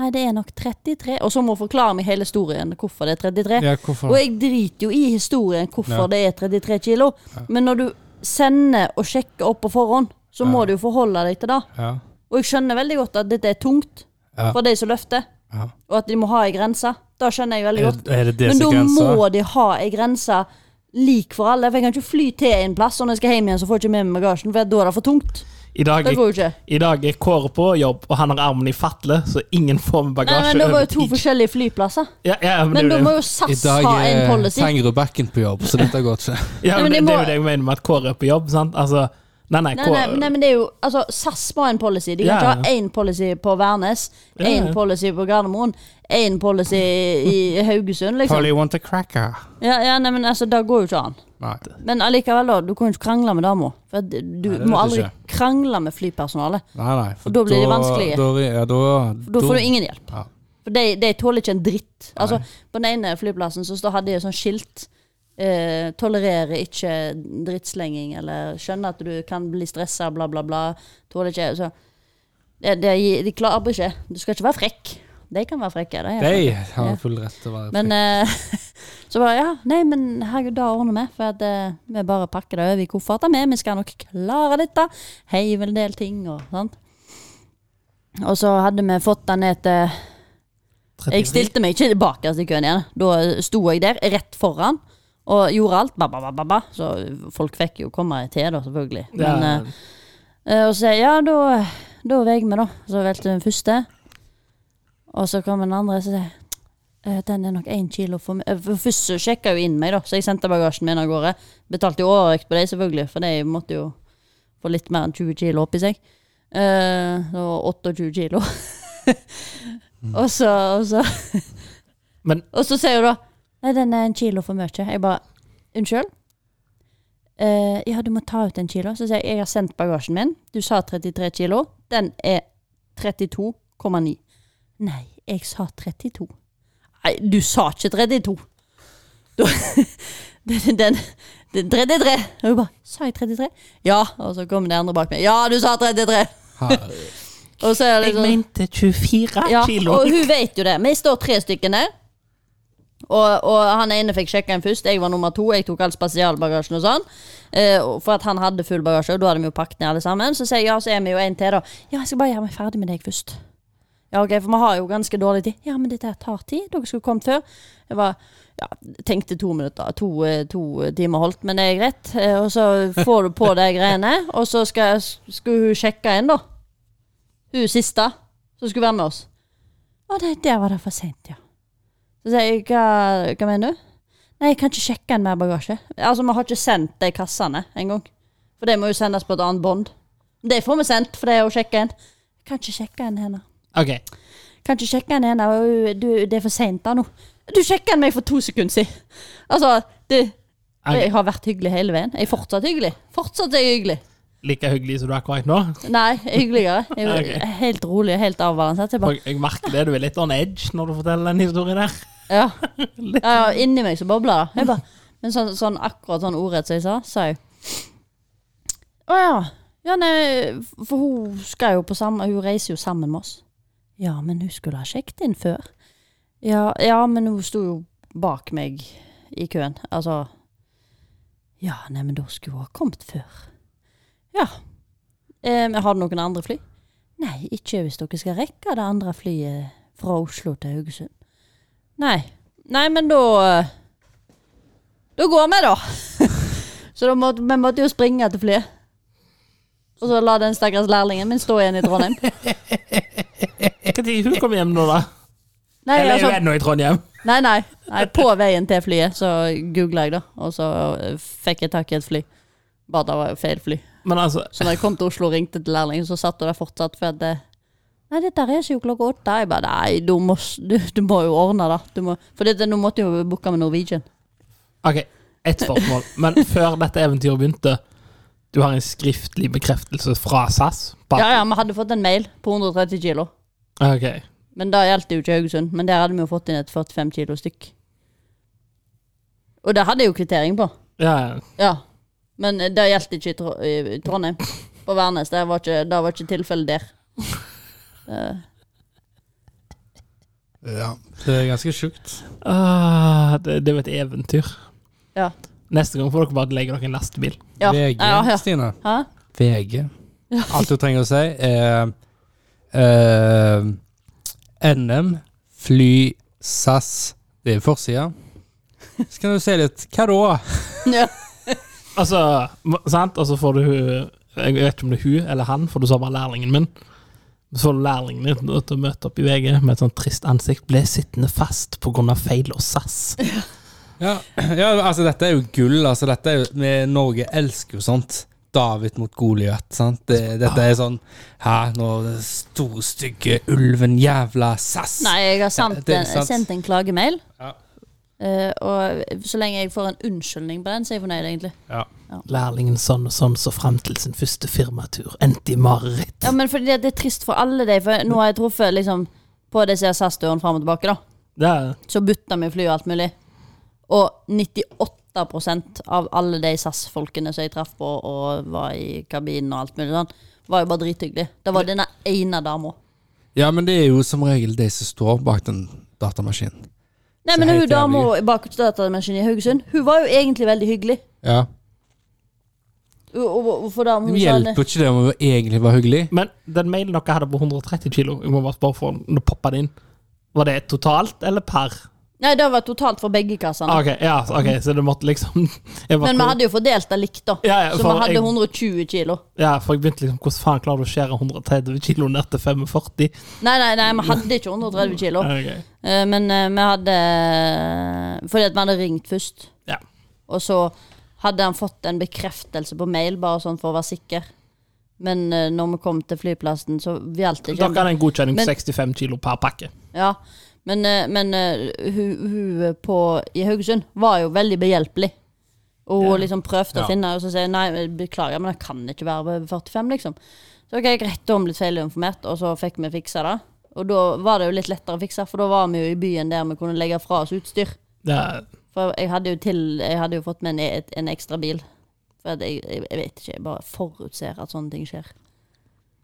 Nei, det er nok 33. Og så må hun forklare meg hele historien hvorfor det er 33. Ja, hvorfor? Og jeg driter jo i historien hvorfor Ja. det er 33 kilo, men når du sender og sjekker opp på forhånd, så må du jo forholde deg til det. Ja. Og jeg skjønner veldig godt at dette er tungt Ja. for de som løfter, Ja. og at de må ha ei grense. Det skjønner jeg veldig Er, godt. er det det Men da som grenser? må de ha ei grense lik for alle, for jeg kan ikke fly til en plass, og når jeg skal hjem igjen, så får jeg ikke med meg bagasjen, for da er det for tungt. I dag, Det går jo ikke. I dag er Kåre på jobb, og han har armen i fatle, så ingen får med Nei, bagasje. men det var jo to over tid. forskjellige flyplasser. Ja, ja, men, Men det, da er jo må det. jo I SAS dag eh, ha en er policy. Tangerudbakken på jobb, så dette går ikke. ja, Nei, men det, men de det er må- jo det jeg mener med at Kåre er på jobb, sant? Altså, nei, nei, Nei, Kåre nei, nei, men det er jo Altså, SAS må ha en policy. De kan Ja, ikke ha én policy på Værnes, Ja, én ja. policy på Gardermoen, én policy i Haugesund, liksom. Polly want a cracker. Ja, ja, nei, men altså, det går jo ikke an. Nei. Men allikevel, da. Du kan jo ikke krangle med dama. For at du Nei, det må vet aldri jeg krangle med flypersonalet. Nei, nei. For da blir de vanskelige. Da, ja, da, Da får du ingen hjelp. Ja. For de, de tåler ikke en dritt. Altså, på den ene flyplassen så står- hadde de et sånt skilt. Eh, tolererer ikke drittslenging, eller skjønner at du kan bli stressa, bla, bla, bla. Tåler ikke altså. så, de, de, de klarer ikke. Du skal ikke være frekk. De kan være frekke. De er De Ja. har full rett til å være men eh, så bare ja, nei, men herregud, det ordner vi. For at eh, vi bare pakker det over i kofferten med. Vi skal nok klare dette. Heiv en del ting og sånt. Og så hadde vi fått den ned til Jeg stilte meg ikke bakerst i køen igjen. Da sto jeg der, rett foran, og gjorde alt. Ba, ba, ba, ba, ba. Så folk fikk jo komme til, da, selvfølgelig. Ja, Men, eh, Eh, Og så sier jeg, ja, da, da veier vi, da. Så valgte jeg den første. Og så kom den andre og sier jeg, Eh, Den er nok én kilo for mye. Eh, For først så sjekka jeg jo inn meg, da, så jeg sendte bagasjen min av gårde. Betalte jo overvekt på dem, selvfølgelig, for de måtte jo få litt mer enn 20 kilo oppi seg. Eh, Det var 28 kilo. og så, og så Men- Og så sier hun da Nei, den er en kilo for mye. Jeg bare Unnskyld? Eh, ja, du må ta ut en kilo. Så sier jeg jeg har sendt bagasjen min. Du sa 33 kilo. Den er 32,9. Nei, jeg sa 32. Nei, du sa ikke 32. Da, den, den, den 33. Og hun bare Sa jeg 33? Ja. Og så kom det andre bak meg. Ja, du sa 33! Herre- Og så er det Jeg sånn mente 24 ja, kilo. Og hun vet jo det. Vi står tre stykker der. Og, og han ene fikk sjekka inn først. Jeg var nummer to. Jeg tok all spesialbagasjen og sånn. Eh, og for at han hadde full bagasje, og da hadde vi jo pakket ned alle sammen. Så sier jeg ja, så er vi jo en til, da. Ja, jeg skal bare gjøre meg ferdig med deg først. Ja, ok, for vi har jo ganske dårlig tid. Ja, men dette her tar tid. Dere skulle kommet før. Jeg var, ja, tenkte to minutter. To, eh, to timer holdt, men det er greit. Eh, Og så får du på de greiene, og så skal, skulle hun sjekke inn, da. Hun siste som skulle være med oss. Å nei, der var det for seint, ja. Så sier jeg, hva, hva mener du? Nei, jeg kan ikke sjekke en mer bagasje. Altså, vi har ikke sendt de kassene engang. For det må jo sendes på et annet bånd. Det får vi sendt, for det er å sjekke en. Jeg kan ikke sjekke en henne. Ok, Kan ikke sjekke en henne, og du, det er for seint da nå. Du sjekka meg for to sekunder siden. Altså, du Jeg har vært hyggelig hele veien. Jeg er fortsatt hyggelig. Fortsatt er jeg hyggelig. Like hyggelig som du er akkurat nå. Nei, jeg er hyggeligere. Jeg er Ok. Helt rolig og helt avbalansert. Jeg bare Og Jeg merker det, du er litt on edge når du forteller den historien der. Ja. ja, ja inni meg så bobler det. Jeg bare, men sånn, sånn akkurat sånn ordrett som jeg sa, sa jeg Å ja. Ja, nei, for hun skal jo på samme Hun reiser jo sammen med oss. Ja, men hun skulle ha sjekket inn før. Ja, ja men hun sto jo bak meg i køen. Altså Ja, nei, men da skulle hun ha kommet før. Ja. Eh, men har du noen andre fly? Nei, ikke hvis dere skal rekke det andre flyet fra Oslo til Haugesund. Nei. Nei, men da eh, Da går vi, da. så da måtte, vi måtte jo springe til flyet. Og så la den stakkars lærlingen min stå igjen i Trondheim. Når hun kom hjem nå, da? Nei, Eller er altså, hun ennå i Trondheim? nei, nei, nei, på veien til flyet så googla jeg, da. Og så eh, fikk jeg tak i et fly. Bare det var jo feil fly. Men altså, Så når jeg kom til Oslo og ringte til lærlingen, så satt hun der fortsatt. For at det, Nei, dette reiser jo klokka åtte. Jeg bare Nei, du må, s- du, du må jo ordne det. Du må, for dette, nå måtte jeg jo booke med Norwegian. ok, ett spørsmål. Men før dette eventyret begynte, du har en skriftlig bekreftelse fra SAS? på at- Ja, ja, vi hadde fått en mail på 130 kilo. Ok. Men da gjaldt det jo ikke Haugesund. Men der hadde vi jo fått inn et 45 kilo stykk. Og det hadde jeg jo kvittering på. Ja, ja. Ja. Men eh, det gjaldt ikke i Tro- i Trondheim. På Værnes. Det var ikke, det var ikke tilfellet der. Eh, Ja. Det er ganske sjukt. Ah, det, det er jo et eventyr. Ja. Neste gang får dere bare legge dere i en lastebil. ja. VG, Ja, ja. Stine. Hæ? VG. Alt du trenger å si, er eh, NM, fly, SAS. Det er forsida. Så kan du se litt Hva da? Ja. Altså, m- sant? Og så får du hun- Jeg vet ikke om det er hun eller han, for du sa bare lærlingen min. Så får du lærlingen din til å møte opp i VG med et sånt trist ansikt. Ble sittende fast pga. feil og SAS. Ja, ja, altså dette er jo gull. Altså dette er jo, vi, Norge elsker jo sånt. David mot Goliat. sant? Det, dette er sånn Hæ, nå den store, stygge ulven, jævla SAS. Nei, jeg har sendt, det er en, sant. sendt en klagemail. Ja. Eh, og så lenge jeg får en unnskyldning på den, så er jeg fornøyd, egentlig. Lærlingen sånn og sånn så frem til sin første firmatur. Endte i mareritt. Ja, men fordi det, det er trist for alle de, for nå har jeg truffet liksom på disse SAS-dørene fram og tilbake, da. Det er så bytta vi fly og alt mulig. Og 98 av alle de SAS-folkene som jeg traff på og var i kabinen og alt mulig sånn, var jo bare drithyggelige. Det var denne ene dama. Ja, men det er jo som regel de som står bak den datamaskinen. Nei, Så men hun helt dama jævlig. bak datamaskinen i Haugesund, hun var jo egentlig veldig hyggelig. Ja. Og- og- og For da hun Det sa det hjelper jo ikke det om hun egentlig var hyggelig. Men den mailen dere hadde på 130 kilo, jeg må bare spørre for, når poppet det inn, var det totalt eller per Ah, Nei, det var totalt for begge kassene. Ok, ja, ok, så det måtte liksom jeg bare- Men vi hadde jo fordelt det likt, da. Ja, ja, Så for vi hadde jeg- 120 kilo. Ja, for jeg begynte liksom Hvordan faen klarer du å skjære 130 kilo ned til 45? Nei, nei, nei, vi hadde ikke 130 kilo. Ok. Eh, Men eh, vi hadde eh, Fordi at vi hadde ringt først. Ja. Og så hadde han fått en bekreftelse på mail, bare sånn for å være sikker. Men eh, når vi kom til flyplassen, så gjaldt det Dere ikke. hadde en godkjenning på Men- 65 kilo per pakke. Ja, men, eh, men eh, hun, hun på, i Haugesund var jo veldig behjelpelig. Og hun liksom prøvde Ja. å finne, og så sier hun nei, beklager, men det kan ikke være over 45, liksom. Så ok, greit, da har vi blitt feilinformert, og så fikk vi fiksa det. Og da var det jo litt lettere å fikse, for da var vi jo i byen der vi kunne legge fra oss utstyr. Ja, For jeg hadde jo, til, jeg hadde jo fått med en, e- en ekstra bil. For at jeg, jeg, jeg vet ikke, jeg bare forutser at sånne ting skjer.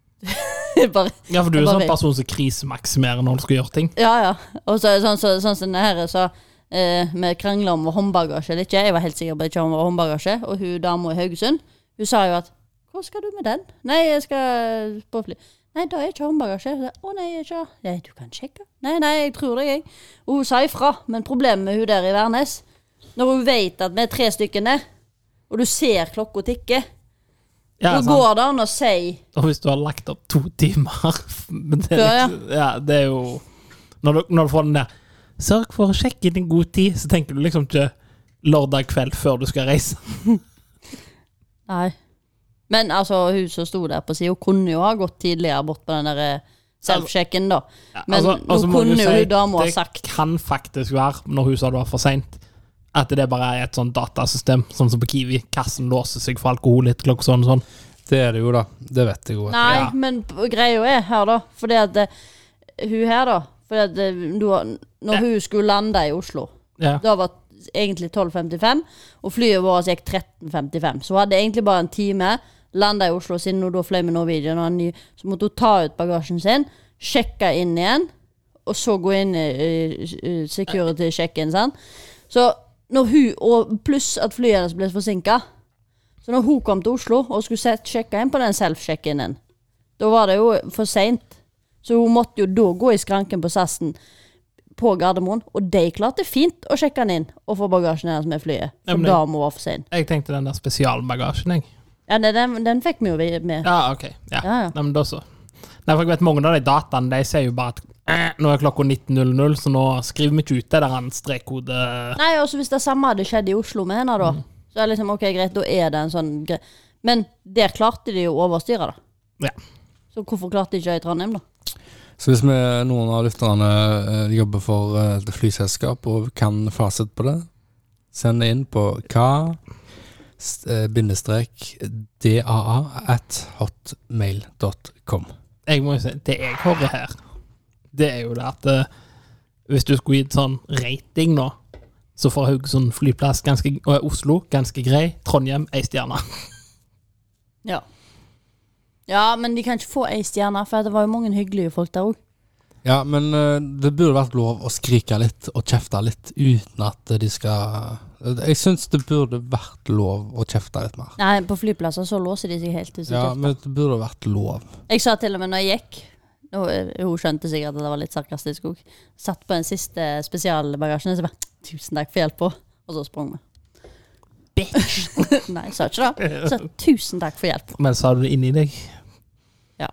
bare ja for du er en Jeg bare sånn vet. person som krisemaksimerer når du skal gjøre ting. Ja, ja. Og så, sånn som sånn, som denne her, så eh, vi krangla om vår håndbagasje eller ikke. Jeg var helt sikker på ikke om vår håndbagasje. Og hun dama i Haugesund, hun sa jo at Hvor skal du med den? Nei, jeg skal på fly. Nei, det er ikke håndbagasje. Så jeg, Å nei, jeg er ikke det. Nei, du kan sjekke. Nei, nei, jeg tror det, jeg. Og hun sa ifra. Men problemet med hun der i Værnes, når hun vet at vi er tre stykker ned, og du ser klokka tikke, Ja, så sant? går det an å si Og hvis du har lagt opp to timer men det, Ja, er liksom, ja, det er jo når du, når du får den der 'Sørg for å sjekke inn i god tid', så tenker du liksom ikke lørdag kveld før du skal reise. Nei. Men altså, hun som sto der på sida, kunne jo ha gått tidligere bort på den der eh, self-sjekken, da. altså- Ja, altså- Men nå må kunne du jo hun dama ha det sagt. kan faktisk være, når hun sa det var for seint, at det bare er et sånt datasystem, sånn som på Kiwi. Kassen låser seg for alkohol etter klokka sånn og sånn. Det er det jo, da. Det vet jeg jo. Nei, Ja. men p- greia er her, da, fordi at eh, Hun her, da. Fordi at eh, du, har- når Ja. hun skulle lande i Oslo, Ja. da var det egentlig 12.55, og flyet vårt gikk 13.55. Så hun hadde egentlig bare en time. Landa i Oslo, siden hun da fløy med Norwegian, og en ny, så måtte hun ta ut bagasjen sin, sjekke inn igjen, og så gå inn i i- i security-sjekken. sant? Så når hun, og Pluss at flyet hennes ble forsinka. Så når hun kom til Oslo og skulle sett- sjekke inn på den self-check-inen, da var det jo for seint. Så hun måtte jo da gå i skranken på SAS-en på Gardermoen, og de klarte fint å sjekke den inn og få bagasjen hennes med flyet. Ja, For men- da må hun være for sein. Jeg tenkte den der spesialbagasjen, jeg. Ja, den- den, den fikk vi jo med. Ja, ok. Ja. Ja, ja. Nei, men da så. Nei, for jeg vet Mange av de dataene de ser jo bare at eh, nå er klokka 19.00, så nå skriver vi ikke ut det der en strekkode Nei, også hvis det samme hadde skjedd i Oslo med henne, Mm. da. Så er det liksom, ok, greit, da er det en sånn gre Men der klarte de jo å overstyre, da. Ja. Så hvorfor klarte de ikke det i Trondheim, da? Så hvis vi, noen av lytterne eh, jobber for eh, et flyselskap og kan fasit på det, send det inn på hva s- eh, bindestrek daa at hotmail.com. Jeg må jo si, Det jeg hører her, det er jo det at eh, hvis du skulle gitt sånn rating nå, så får Haugesund flyplass ganske, og Oslo ganske grei, Trondheim ei stjerne. Ja. ja, men de kan ikke få ei stjerne, for det var jo mange hyggelige folk der òg. Ja, men eh, det burde vært lov å skrike litt og kjefte litt uten at de skal eh, Jeg syns det burde vært lov å kjefte litt mer. Nei, på flyplasser så låser de seg helt til Ja, sikkert. men det burde vært lov. Jeg sa til og med når jeg gikk nå, eh, Hun skjønte sikkert at det var litt sarkastisk òg. Satt på den siste spesialbagasjen og så bare 'Tusen takk for hjelpa', og så sprang vi. Bitch! Nei, jeg sa ikke det. Så 'Tusen takk for hjelp'. Men sa du det inni deg? Ja.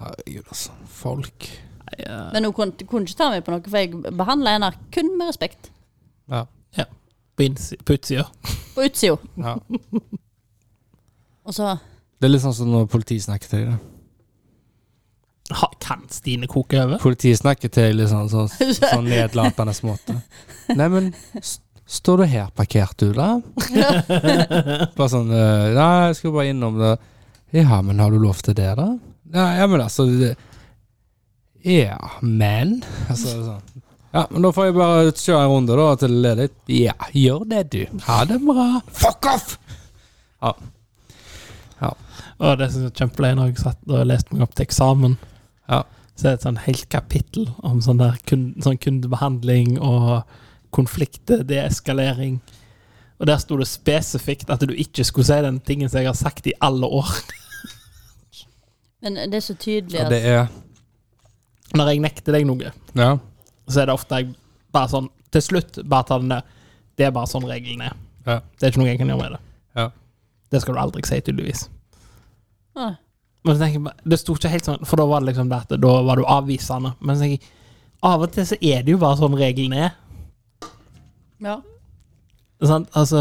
Herregud, altså. Folk. eh, Men hun kunne, kunne ikke ta meg på noe, for jeg behandla henne kun med respekt. Ja. På inns- på utsida. På utsida. ja. Og så Det er litt sånn som når politiet snakker til deg. da. Ha- Kan Stine koke over? Politiet snakker til deg sånn, sånn, sånn nedlatende måte. Nei, men s- står du her parkert, du, da? Bare sånn eh, Nei, jeg skal bare innom det. Ja, men har du lov til det, da? Ja, ja men altså det, Ja, men Altså sånn. Ja, men da får jeg bare kjøre en runde, da, til det er litt Ja, gjør det, du. Ha det bra. Fuck off! Og det som er kjempeløye når jeg satt og leste meg opp til eksamen. Ja. Så er det et sånn helt kapittel om sånn der kun, sånn kundebehandling og konflikter, deeskalering. Og der sto det spesifikt at du ikke skulle si den tingen som jeg har sagt i alle år. Men det er så tydelig Og at det er Når jeg nekter deg noe, Ja. så er det ofte jeg bare sånn Til slutt bare tar den der. Det er bare sånn reglene er. Ja. Det er ikke noe jeg kan gjøre med det. Ja. Det skal du aldri si, tydeligvis. Nei. Men så tenker jeg bare, Det sto ikke helt sånn, for da var det liksom det at da var du avvisende. Men så tenker jeg, av og til så er det jo bare sånn reglene er. Ja. Sant? Altså,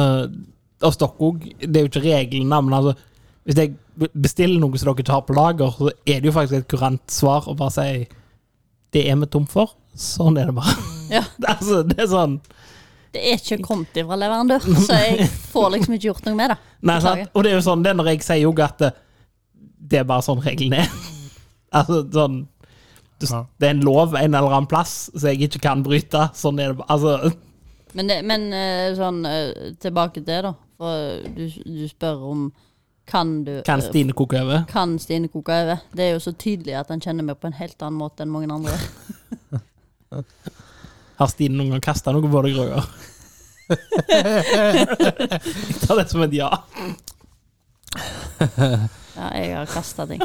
og stokk òg. Det er jo ikke reglene, men altså Hvis jeg b- bestiller noe som dere ikke har på lager, så er det jo faktisk et kurant svar å bare si Det er vi tom for. Sånn er det bare. Ja. Det er altså, det er sånn Det er ikke kommet ifra leverandør, så jeg får liksom ikke gjort noe med det. Nei, Beklager. sant? Og det er jo sånn, det er når jeg sier jo at det, det er bare sånn reglene er. altså sånn du, Ja. Det er en lov en eller annen plass som jeg ikke kan bryte. Sånn er det bare. Altså, Men, det, men eh, sånn eh, tilbake til det, da. For du, du spør om kan du eh, kan Stine koke over? kan Stine koke over? Det er jo så tydelig at han kjenner meg på en helt annen måte enn mange andre. Har Stine noen gang kasta noe på deg, Roger? jeg tar det som et ja. Ja, jeg har kasta ting.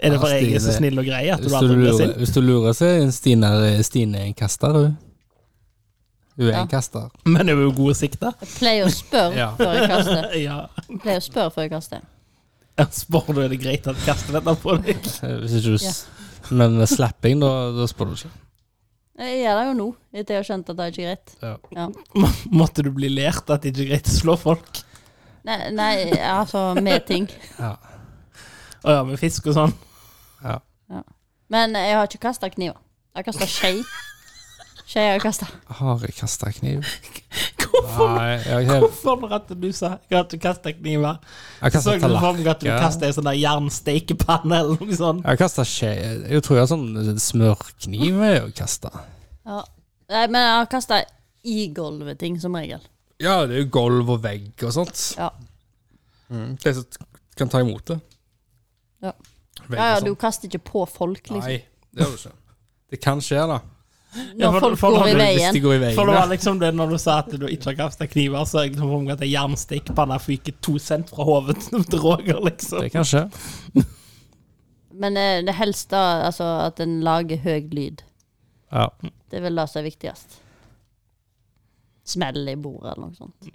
Er det for Ja, jeg er så Stine. snill og grei at du Hvis du, aldri blir lurer, sint? hvis du lurer, så er Stine, eh, Stine en kaster, hun. Hun er Ja. en kaster. Men er vi jo gode sikta? Jeg pleier å spørre Ja. før jeg kaster. Ja. Jeg pleier å spørre før jeg kaster. Jeg Spør du er det greit at jeg kaster dette på deg? Eh, Hvis ikke du s- Men med slapping, da, da spør du ikke. Jeg gjør det jo nå, etter jeg har skjønt at det er ikke greit. Ja. Ja. Må- Måtte du bli lært at det ikke er greit å slå folk? Nei, nei, altså, med ting. Ja. Å ja, med fisk og sånn? Ja. Men jeg har ikke kasta kniver. Jeg har kasta skje. Skje har jeg kasta. Har jeg kasta kniv? Hvorfor Nei, jeg har Hvorfor var det at du sa jeg har ikke kasta kniver? jeg Så kasta du for tallerken. meg at du Ja. kastet en sånn der jernstekepanne eller noe sånt? Jeg har kasta skje Jeg tror jeg har sånn smørkniv jeg har kasta. Ja. Nei, men jeg har kasta i gulvet ting, som regel. Ja, det er jo gulv og vegg og sånt. Ja. Mm. De som kan ta imot det. Ja. Vegg Ja, ja, og du sånt. kaster ikke på folk, liksom. Nei, det gjør du ikke. Det kan skje, da. Ja, for- Når folk for- går i for- Hvis veien. de går i veien. For det ja. var liksom det når du sa at du ikke har kasta kniver, så er jeg liksom for meg at ei jernstekepanne fyker to cent fra hodet til Roger, liksom. Det kan skje. Men eh, det helst da altså, at en lager høy lyd. Ja. Det er vel det som er viktigst. Smell i bordet eller noe sånt.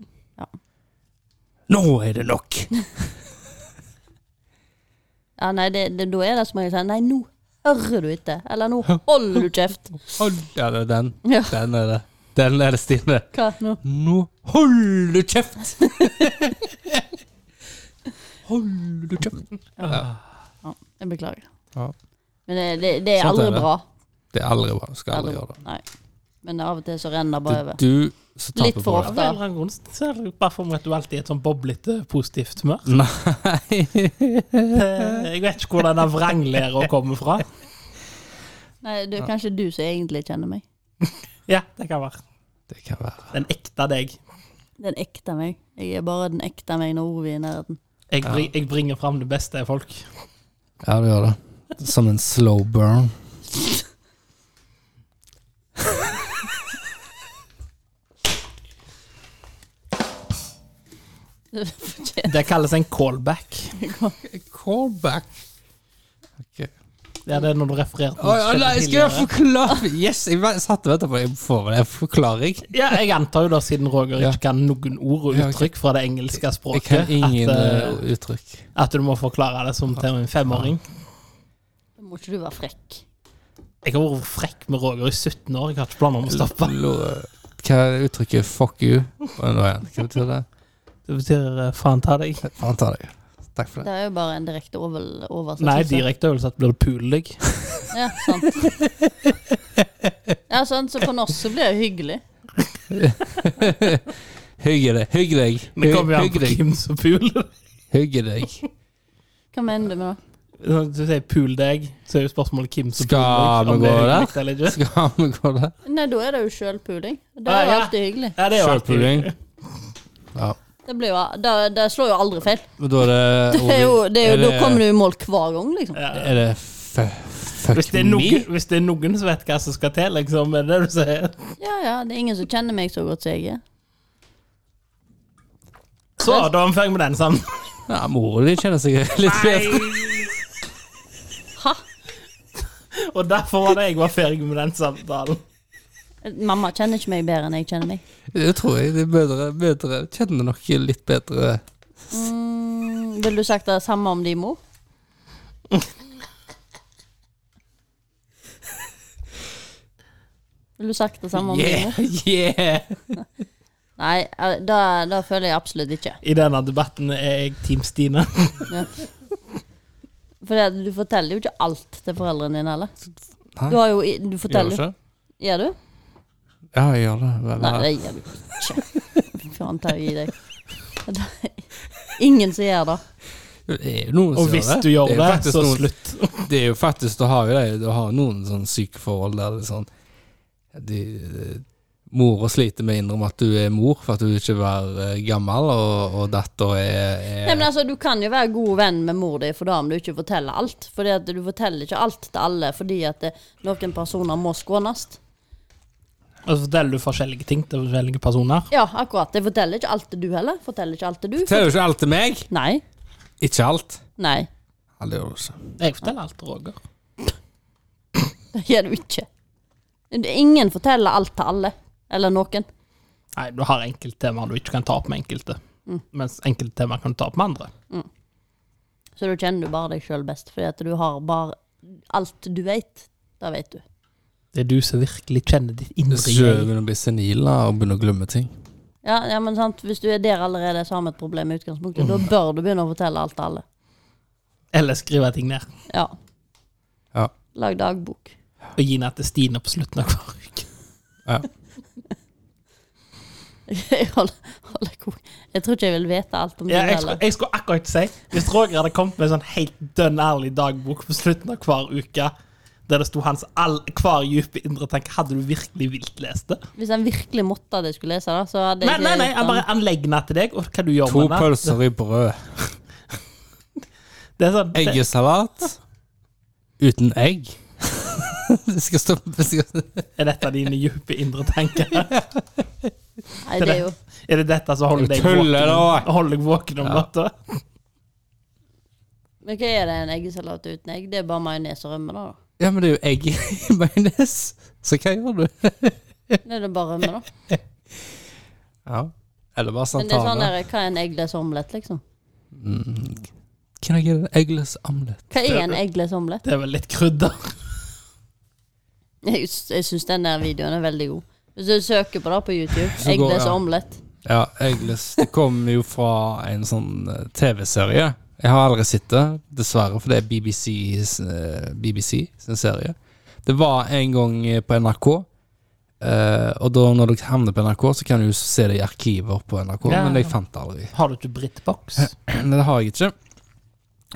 Nå er det nok! Ja, nei, det, det, Da er det som jeg sier, nei, nå hører du ikke. Eller nå holder du kjeft. Hold, ja, det er den. Ja. Den er det. Den er det, Stine. Hva nå? Nå holder du kjeft! holder du kjeft? Ja, jeg beklager. Ja. Men det, det, det er Sånt er aldri det. bra. Det er aldri bra. Du skal aldri gjøre det. Nei. Men av og til så renner det Det bare er over. du som Litt taper for på Av det. en eller annen grunn så er det bare for meg at du alltid er et sånn boblete, positivt humør. Nei. Eh, Jeg vet ikke hvor denne vranglæra kommer fra. Nei, det er kanskje du som egentlig kjenner meg. Ja, det kan være. Det kan være. Den ekte deg. Den ekte meg. Jeg er bare den ekte meg når Ove er i nærheten. Jeg, bri, jeg bringer fram det beste i folk. Ja, du gjør det. Som en slow burn. Det fortjener Det kalles en callback. Callback. Ok. Ja, det er når du refererer til Å, ja, noe nei, skal jeg forklare Yes, jeg var- satt og ventet på Jeg får vel en forklaring. Ja, jeg antar jo da, siden Roger Ja. ikke kan noen ord og Ja, ok. uttrykk fra det engelske Jeg språket, kan ingen at, eh, uttrykk. eh, at du må forklare det som til en femåring. Da må ikke du være frekk. Jeg har vært frekk med Roger i 17 år, jeg har ikke planer om å stoppe. Lo- Hva er uttrykket 'fuck you'? Hva er det nå igjen? Hva betyr det? Det betyr eh, faen ta deg. Faen ta deg. Takk for det. Det er jo bare en direkte over- oversettelse. Nei, direkte øvelse at blir det pule deg. Ja, sant. Ja, sant, så på norsk så blir det hyggelig. Hygge deg. Hygg deg. Det kommer jo an Hygg på deg. hvem som puler. Hygge deg. Hva mener du med det? Når du sier pul deg, så er jo spørsmålet hvem som Skal puler deg. om vi det er gå der? hyggelig eller ikke. Skal vi gå der? Nei, da er det jo sjølpuling. Det Ah, er jo ja. alltid hyggelig. Ja, det er jo alltid Sjølpuling. Ja. Det, blir jo, det, det slår jo aldri feil. Men da er det Det er jo, det er jo, da det- kommer du i mål hver gang, liksom. Ja. Er det f fuck Hvis det, er me? noen, hvis det er noen som vet hva som skal til, liksom, er det det du sier. Ja, ja, det er ingen som kjenner meg så godt som jeg er. Så, da er vi ferdig med den sammen. Ja, Mora di kjenner seg litt bedre. Hæ? Og derfor var det jeg var ferdig med den samtalen. Mamma kjenner ikke meg bedre enn jeg kjenner meg. Det tror jeg de bedre, bedre kjenner noe litt bedre Mm, Ville du sagt det samme om din mor? Ville du sagt det samme om din mor? Yeah, yeah. Nei, eh, det, det føler jeg absolutt ikke. I denne debatten er jeg Team Stine. For det, du forteller jo ikke alt til foreldrene dine heller. Nei. Du har jo i- Du forteller jo Gjør det ikke? Gjør du? Ja, jeg gjør det. Hva- Nei, hva- det gjør du ikke. Faen ta i deg. Det er Ingen som gjør det. Det er jo noen som Og hvis du gjør er det, jo faktisk så noen- slutt. Det er jo faktisk, du har jo det, du har noen sånn syke forhold der det er sånn de, Mora sliter med å innrømme at du er mor for at du ikke var eh, gammel, og, og datter er, Nei, men er altså, Du kan jo være god venn med mor di for da om du ikke forteller alt. Fordi at Du forteller ikke alt til alle fordi at det, noen personer må skånes. Og så forteller du forskjellige ting til forskjellige personer. Ja, akkurat. Jeg forteller ikke alt til du heller. Forteller ikke alt til du. Teller jo ikke alt til meg. Nei. Ikke alt. Nei, Ja, det gjør du ikke. Jeg forteller alt til Roger. det gjør du ikke. Det- Ingen forteller alt til alle. Eller noen. Nei, du har enkelttemaer du ikke kan ta opp med enkelte. Mens enkelttemaer kan du ta opp med andre. Så da kjenner du bare deg sjøl best, fordi at du har bare alt du veit. Det vet du. Det er du som virkelig kjenner ditt Du indre skal jeg. begynne å bli senil da, og begynne å glemme ting. Ja, ja, men sant, Hvis du er der allerede, så har vi et problem i utgangspunktet. Da bør du begynne å fortelle alt til alle. Eller skrive ting ned. Ja. Ja. Lag dagbok. Og gi den til Stine på slutten av hver uke. Jeg, holder, holder kok. jeg tror ikke jeg vil vite alt om det Ja, jeg, skulle, heller. jeg skulle akkurat si Hvis Roger hadde kommet med en sånn helt dønn ærlig dagbok på slutten av hver uke, der det sto hans all, hver dype indre tanke, hadde du virkelig vilt lest det? Hvis han virkelig måtte at jeg skulle lese det, så hadde Nei, jeg nei, nei, han bare han legger den til deg, og hva du gjør To med den. pølser i brød. Det er sånn, det, Eggesalat uten egg. Det skal stå det skal, er dette dine dype indre tanker? Nei, det er jo Er det dette som holder deg Tuller våken, da. holder deg våken om Ja. natta? Men hva er det en eggesalat uten egg? Det er bare majones og rømme, da. da. Ja, men det er jo egg i majones, så hva gjør du? Det er det bare rømme, da. Ja. Eller bare Men det er sånn santana. der, hva er en eggløs omelett, liksom? Can I get an eggless omelet? Hva er en eggløs omelett? Det er vel litt krydder. Jeg, jeg syns den der videoen er veldig god. Hvis du søker på det på YouTube, Så går- eggløs ja. omelett Ja, eggless. Det kommer jo fra en sånn eh, TV-serie. Jeg har aldri sett det, dessverre, for det er BBC, eh, BBC sin serie. Det var en gang eh, på NRK, eh, og da når du havner på NRK, så kan du jo se det i arkiver på NRK, Ja, men jeg ja. fant det aldri. Har du ikke Britbox? Men det har jeg ikke.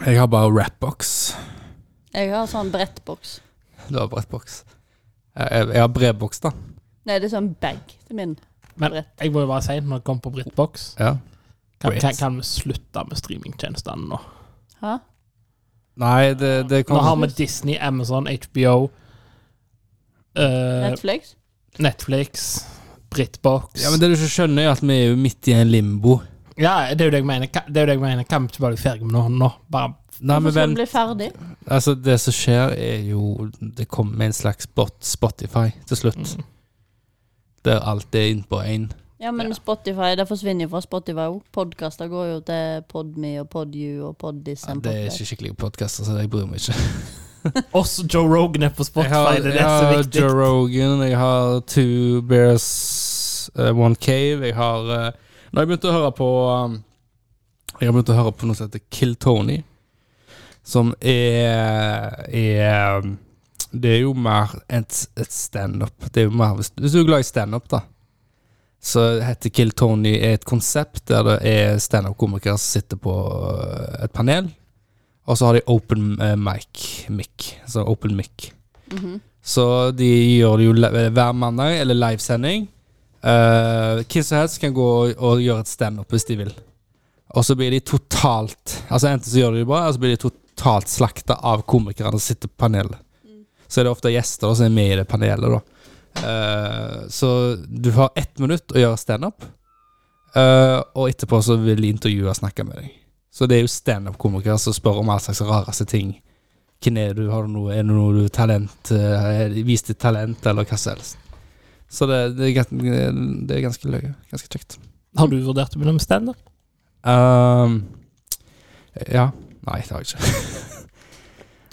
Jeg har bare Rapbox. Jeg har sånn brettboks. Du har brettboks. Eh, Jeg, jeg har brevboks, da. Nei, det er sånn bag til min. Men jeg må jo bare si, når jeg kom på Britbox, Ja. kan, Brit. kan, kan vi slutte med streamingtjenestene nå? Hæ? Nei, det, det Nå har kommer vi Disney, Amazon, HBO, eh, Netflix? Netflix, Britbox Ja, men Det du ikke skjønner, er at vi er jo midt i en limbo. Ja, det er jo det jeg mener. Ka- Det er jo det jeg mener. Kan vi ikke bare bli ferdig med noe nå? Bare Nei, Hvorfor men skal vent, du bli ferdig? altså Det som skjer, er jo Det kommer en slags bot Spotify til slutt. Mm. Der alt er innpå én. Ja, men Ja. Spotify, det forsvinner jo fra Spotify òg. Podkaster går jo til Podme og Podyou og Poddis. Ja, and det er Podplay. ikke skikkelige podkaster, så jeg bryr meg ikke. Også Joe Rogan er på Jeg Spotify, har, det er jeg det som er har viktig. Joe Rogan, jeg har Two Bears, eh, One Cave Jeg har eh, Nå har jeg begynt å høre på um, Jeg har begynt å høre på noe som heter Kill Tony. Som er, er um, Det er jo mer et, et standup. Det er jo mer hvis, hvis du er glad i standup, da. Så heter Kill Tony er et konsept der det er standup-komikere som sitter på eh, et panel. Og så har de open eh, mic, mic. Så open mic. Så de gjør det jo le- hver mandag, eller livesending. Eh, hvem som helst kan gå og gjøre et standup hvis de vil. Og så blir de totalt Altså Enten så gjør de det bra, eller så blir de totalt slakta av komikerne som sitter på panelet. Så er det ofte gjester da, som er med i det panelet, da. Eh, så du har ett minutt å gjøre standup, uh, og etterpå så vil de intervjue og snakke med deg. Så det er jo standup-komikere som spør om all slags rareste ting Hvem er du? Har du noe, er det noe du talent? eh, er- Vis ditt talent, eller hva som helst. Så det, det, er, gans- det er ganske løye. Ganske kjekt. Har du vurdert å begynne med standup? Ehm, ja. Nei, det har jeg ikke.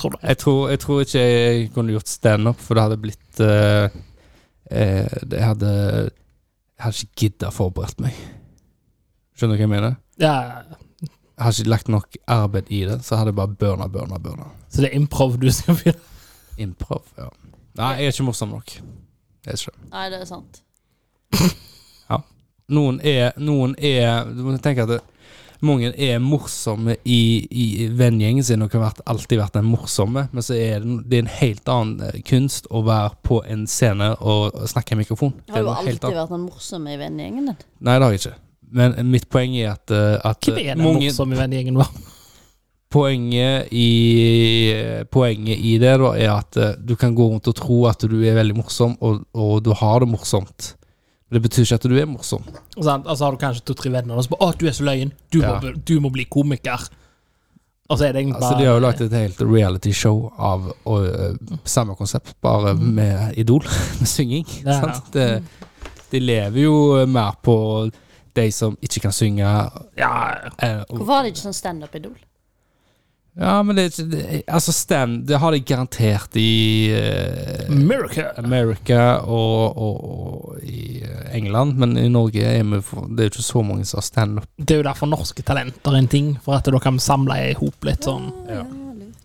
Tror du? Jeg tror, jeg tror ikke jeg kunne gjort standup, for det hadde blitt eh, eh, Det hadde Jeg hadde ikke gidda forberedt meg. Skjønner du hva jeg mener? Ja, Jeg hadde ikke lagt nok arbeid i det, så hadde jeg bare burna, burna, burna. så det er improv du skal begynne Improv, ja. Nei, jeg er ikke morsom nok. Jeg er ikke. det. Nei, det er sant. Noen er, noen er Du må tenke at det, mange er morsomme i, i vennegjengen sin og har vært, alltid vært den morsomme, men så er det, no- det er en helt annen eh, kunst å være på en scene og og snakke i mikrofon. Det Har er du noe helt alltid annet. vært den morsomme i vennegjengen din? Nei, det har jeg ikke. Men mitt poeng er at, eh, at Hvem er den mange- morsomme vennegjengen vår? poenget i, poenget i det da, er at eh, du kan gå rundt og tro at du er veldig morsom, og, og du har det morsomt. Men det betyr ikke at du er morsom. Og så altså, har du kanskje to-tre venner og så bare 'Å, du er så løyen. Du, Ja. må, du må bli komiker.' Og så er det egentlig Altså, bare de har jo lagt et helt realityshow av og, eh, samme konsept, bare med Idol, med synging. Mm. Ja. Sant? Det, de lever jo mer på de som ikke kan synge. Ja, eh, og- Hvorfor har de ikke sånn standup-idol? Ja, men det, er ikke- det, altså stand, det har de garantert i eh, Miracle. America og, og, og i England, men i Norge er vi for, det er jo ikke så mange som har standup. Det er jo derfor norske talenter er en ting, for at da kan vi samle i hop litt sånn Ja. lurt.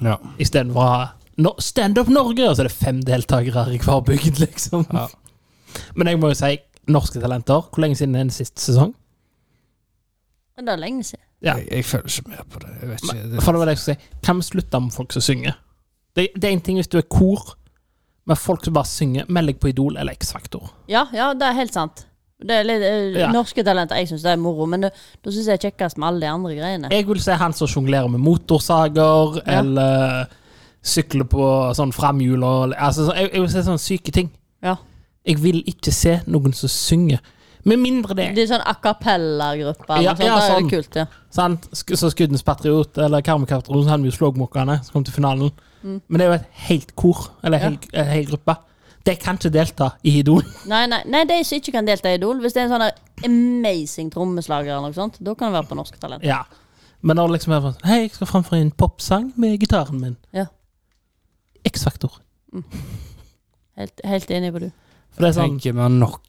ja. Ja. istedenfor å ha no, Standup Norge, og så er det fem deltakere her i hver bygd, liksom. Ja. Men jeg må jo si norske talenter. Hvor lenge siden er den siste sesong? Men det er lenge siden. Ja. Jeg, jeg føler ikke med på det. Jeg vet ikke. Det, For det var det jeg skulle si. Kan vi slutte med folk som synger? Det, det er en ting hvis du er kor, men folk som bare synger, meld deg på Idol eller X-Faktor. Ja, ja, det er helt sant. Det er litt, eh, Ja. Norske talenter, jeg syns det er moro, men det- da syns jeg det er kjekkest med alle de andre greiene. Jeg vil se han som sjonglerer med motorsager, Ja. eller sykler på sånn framhjul og altså, så- jeg, jeg vil se sånne syke ting. Ja. Jeg vil ikke se noen som synger. Med mindre det De er sånn a cappella-gruppe eller Ja, noe sånt. ja, det er sånn. jo kult, ja. sant? Sk- Så Skuddens Patriot eller Karmekatriot, han med slågmukkene som kom til finalen. Mm. Men det er jo et helt kor, eller en hel, en hel gruppe. De kan ikke delta i Idol. Nei, nei, nei, de som ikke kan delta i Idol. Hvis det er en sånn der amazing trommeslager eller noe sånt, da kan det være på Norske Talent. Ja. Men når det liksom er sånn Hei, jeg skal framføre en popsang med gitaren min. Ja. X-faktor. Helt, helt enig på du. For det er jeg sånn tenker vi har nok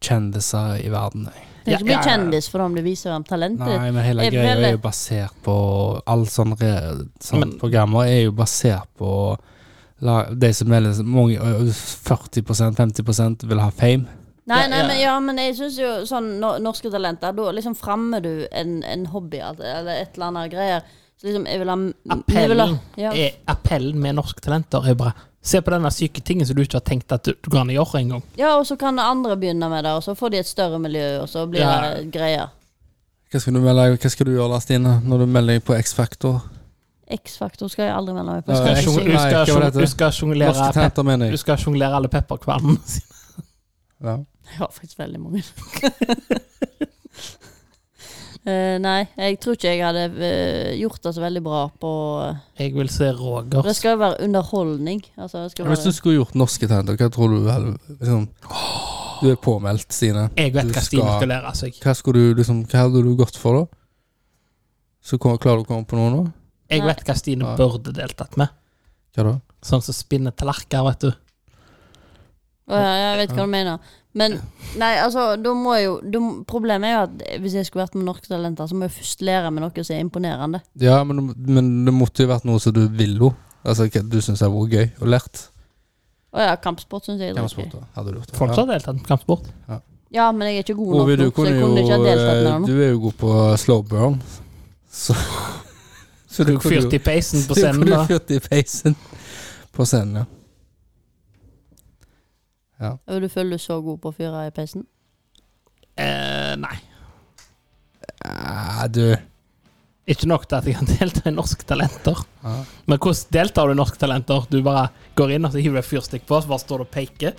kjendiser i verden. jeg. Du Ja, kan ikke bli ja, ja. kjendis for om du viser frem talentet ditt. Nei, men hele Jeg greia føler- er jo basert på Alle sånne, re- sånne Men- programmer er jo basert på la, de som melder mange, ø, 40-50 vil ha fame. Nei, Ja, nei, ja. men, ja, men jeg syns jo sånn no, norske talenter, da liksom fremmer du en, en hobby alt- eller et eller annet greier. Så liksom, jeg vil ha jeg vil ha- appellen, Ja. er, appellen med norske talenter er bare Se på denne syke tingen som du ikke har tenkt at du, du kan gjøre engang. ja, og så kan andre begynne med det, og så får de et større miljø, og så blir Ja. det greier. Hva skal du, melde, hva skal du gjøre, Lars Stine, når du melder deg på X-Factor? X-faktor skal jeg aldri melde meg på. Ja, Du jeg skal skjønner- sjong- du Nei, skal hva var sjong- dette? Du skal Norske sjonglere pep- talenter, mener du jeg. skal sjonglere alle pepperkvernene sine. Ja. Jeg har faktisk veldig mange. Eh, nei, jeg tror ikke jeg hadde eh, gjort det så veldig bra på Jeg vil se Roger. Det skal jo være underholdning. Altså, det skal Hvis du være, skulle gjort norske talenter, hva tror du hadde liksom, Du er påmeldt, Stine. Jeg vet Du hva Stine skal- skal lære altså. seg. Hva, skulle du, liksom, hva hadde du gått for, da? Så kom, Klarer du å komme på noe nå? Jeg Nei. vet hva Stine Ja. burde deltatt med. Hva da? Sånn som spinner tallerkener, vet du. Å, ja, jeg vet hva du mener. Men nei, altså, da må jeg jo da, må- Problemet er jo at hvis jeg skulle vært med Norske Talenter, så må jeg først lære meg noe som er imponerende. Ja, men, men det måtte jo vært noe som du ville. Altså, hva du syns hadde vært gøy og lært. Å ja, kampsport syns jeg er Hvem dritgøy. spurte? Hadde du gjort det? Folk som har deltatt på kampsport. Ja, men jeg er ikke god nok, Ovi, du nå, så kunne jeg jo kunne ikke ha deltatt med eh, noe. Du er jo god på slow burn. Så, så Du fyrte i peisen på scenen. Du da. kunne fyrt i peisen på scenen, ja. Og Du føler du er så god på å fyre i peisen? Eh, nei. Ja, Ah, du Ikke nok til at jeg kan delta i Norske Talenter. ja. Men hvordan deltar du i Norske Talenter? Du bare går inn og så hiver du et fyrstikk på, så bare står du og peker.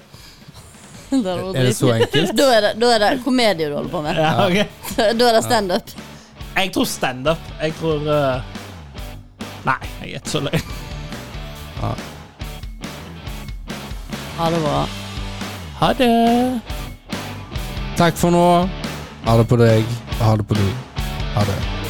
Det hadde vært Er det så dritgøy. enkelt? Da er det, da er det komedie du holder på med. Ja, ok. Da er det standup. Jeg tror standup. Jeg tror eh, Nei, jeg er ikke så løy. Ha det bra. Ha det. Takk for nå. Ha det på deg. Ha det på du. Ha det.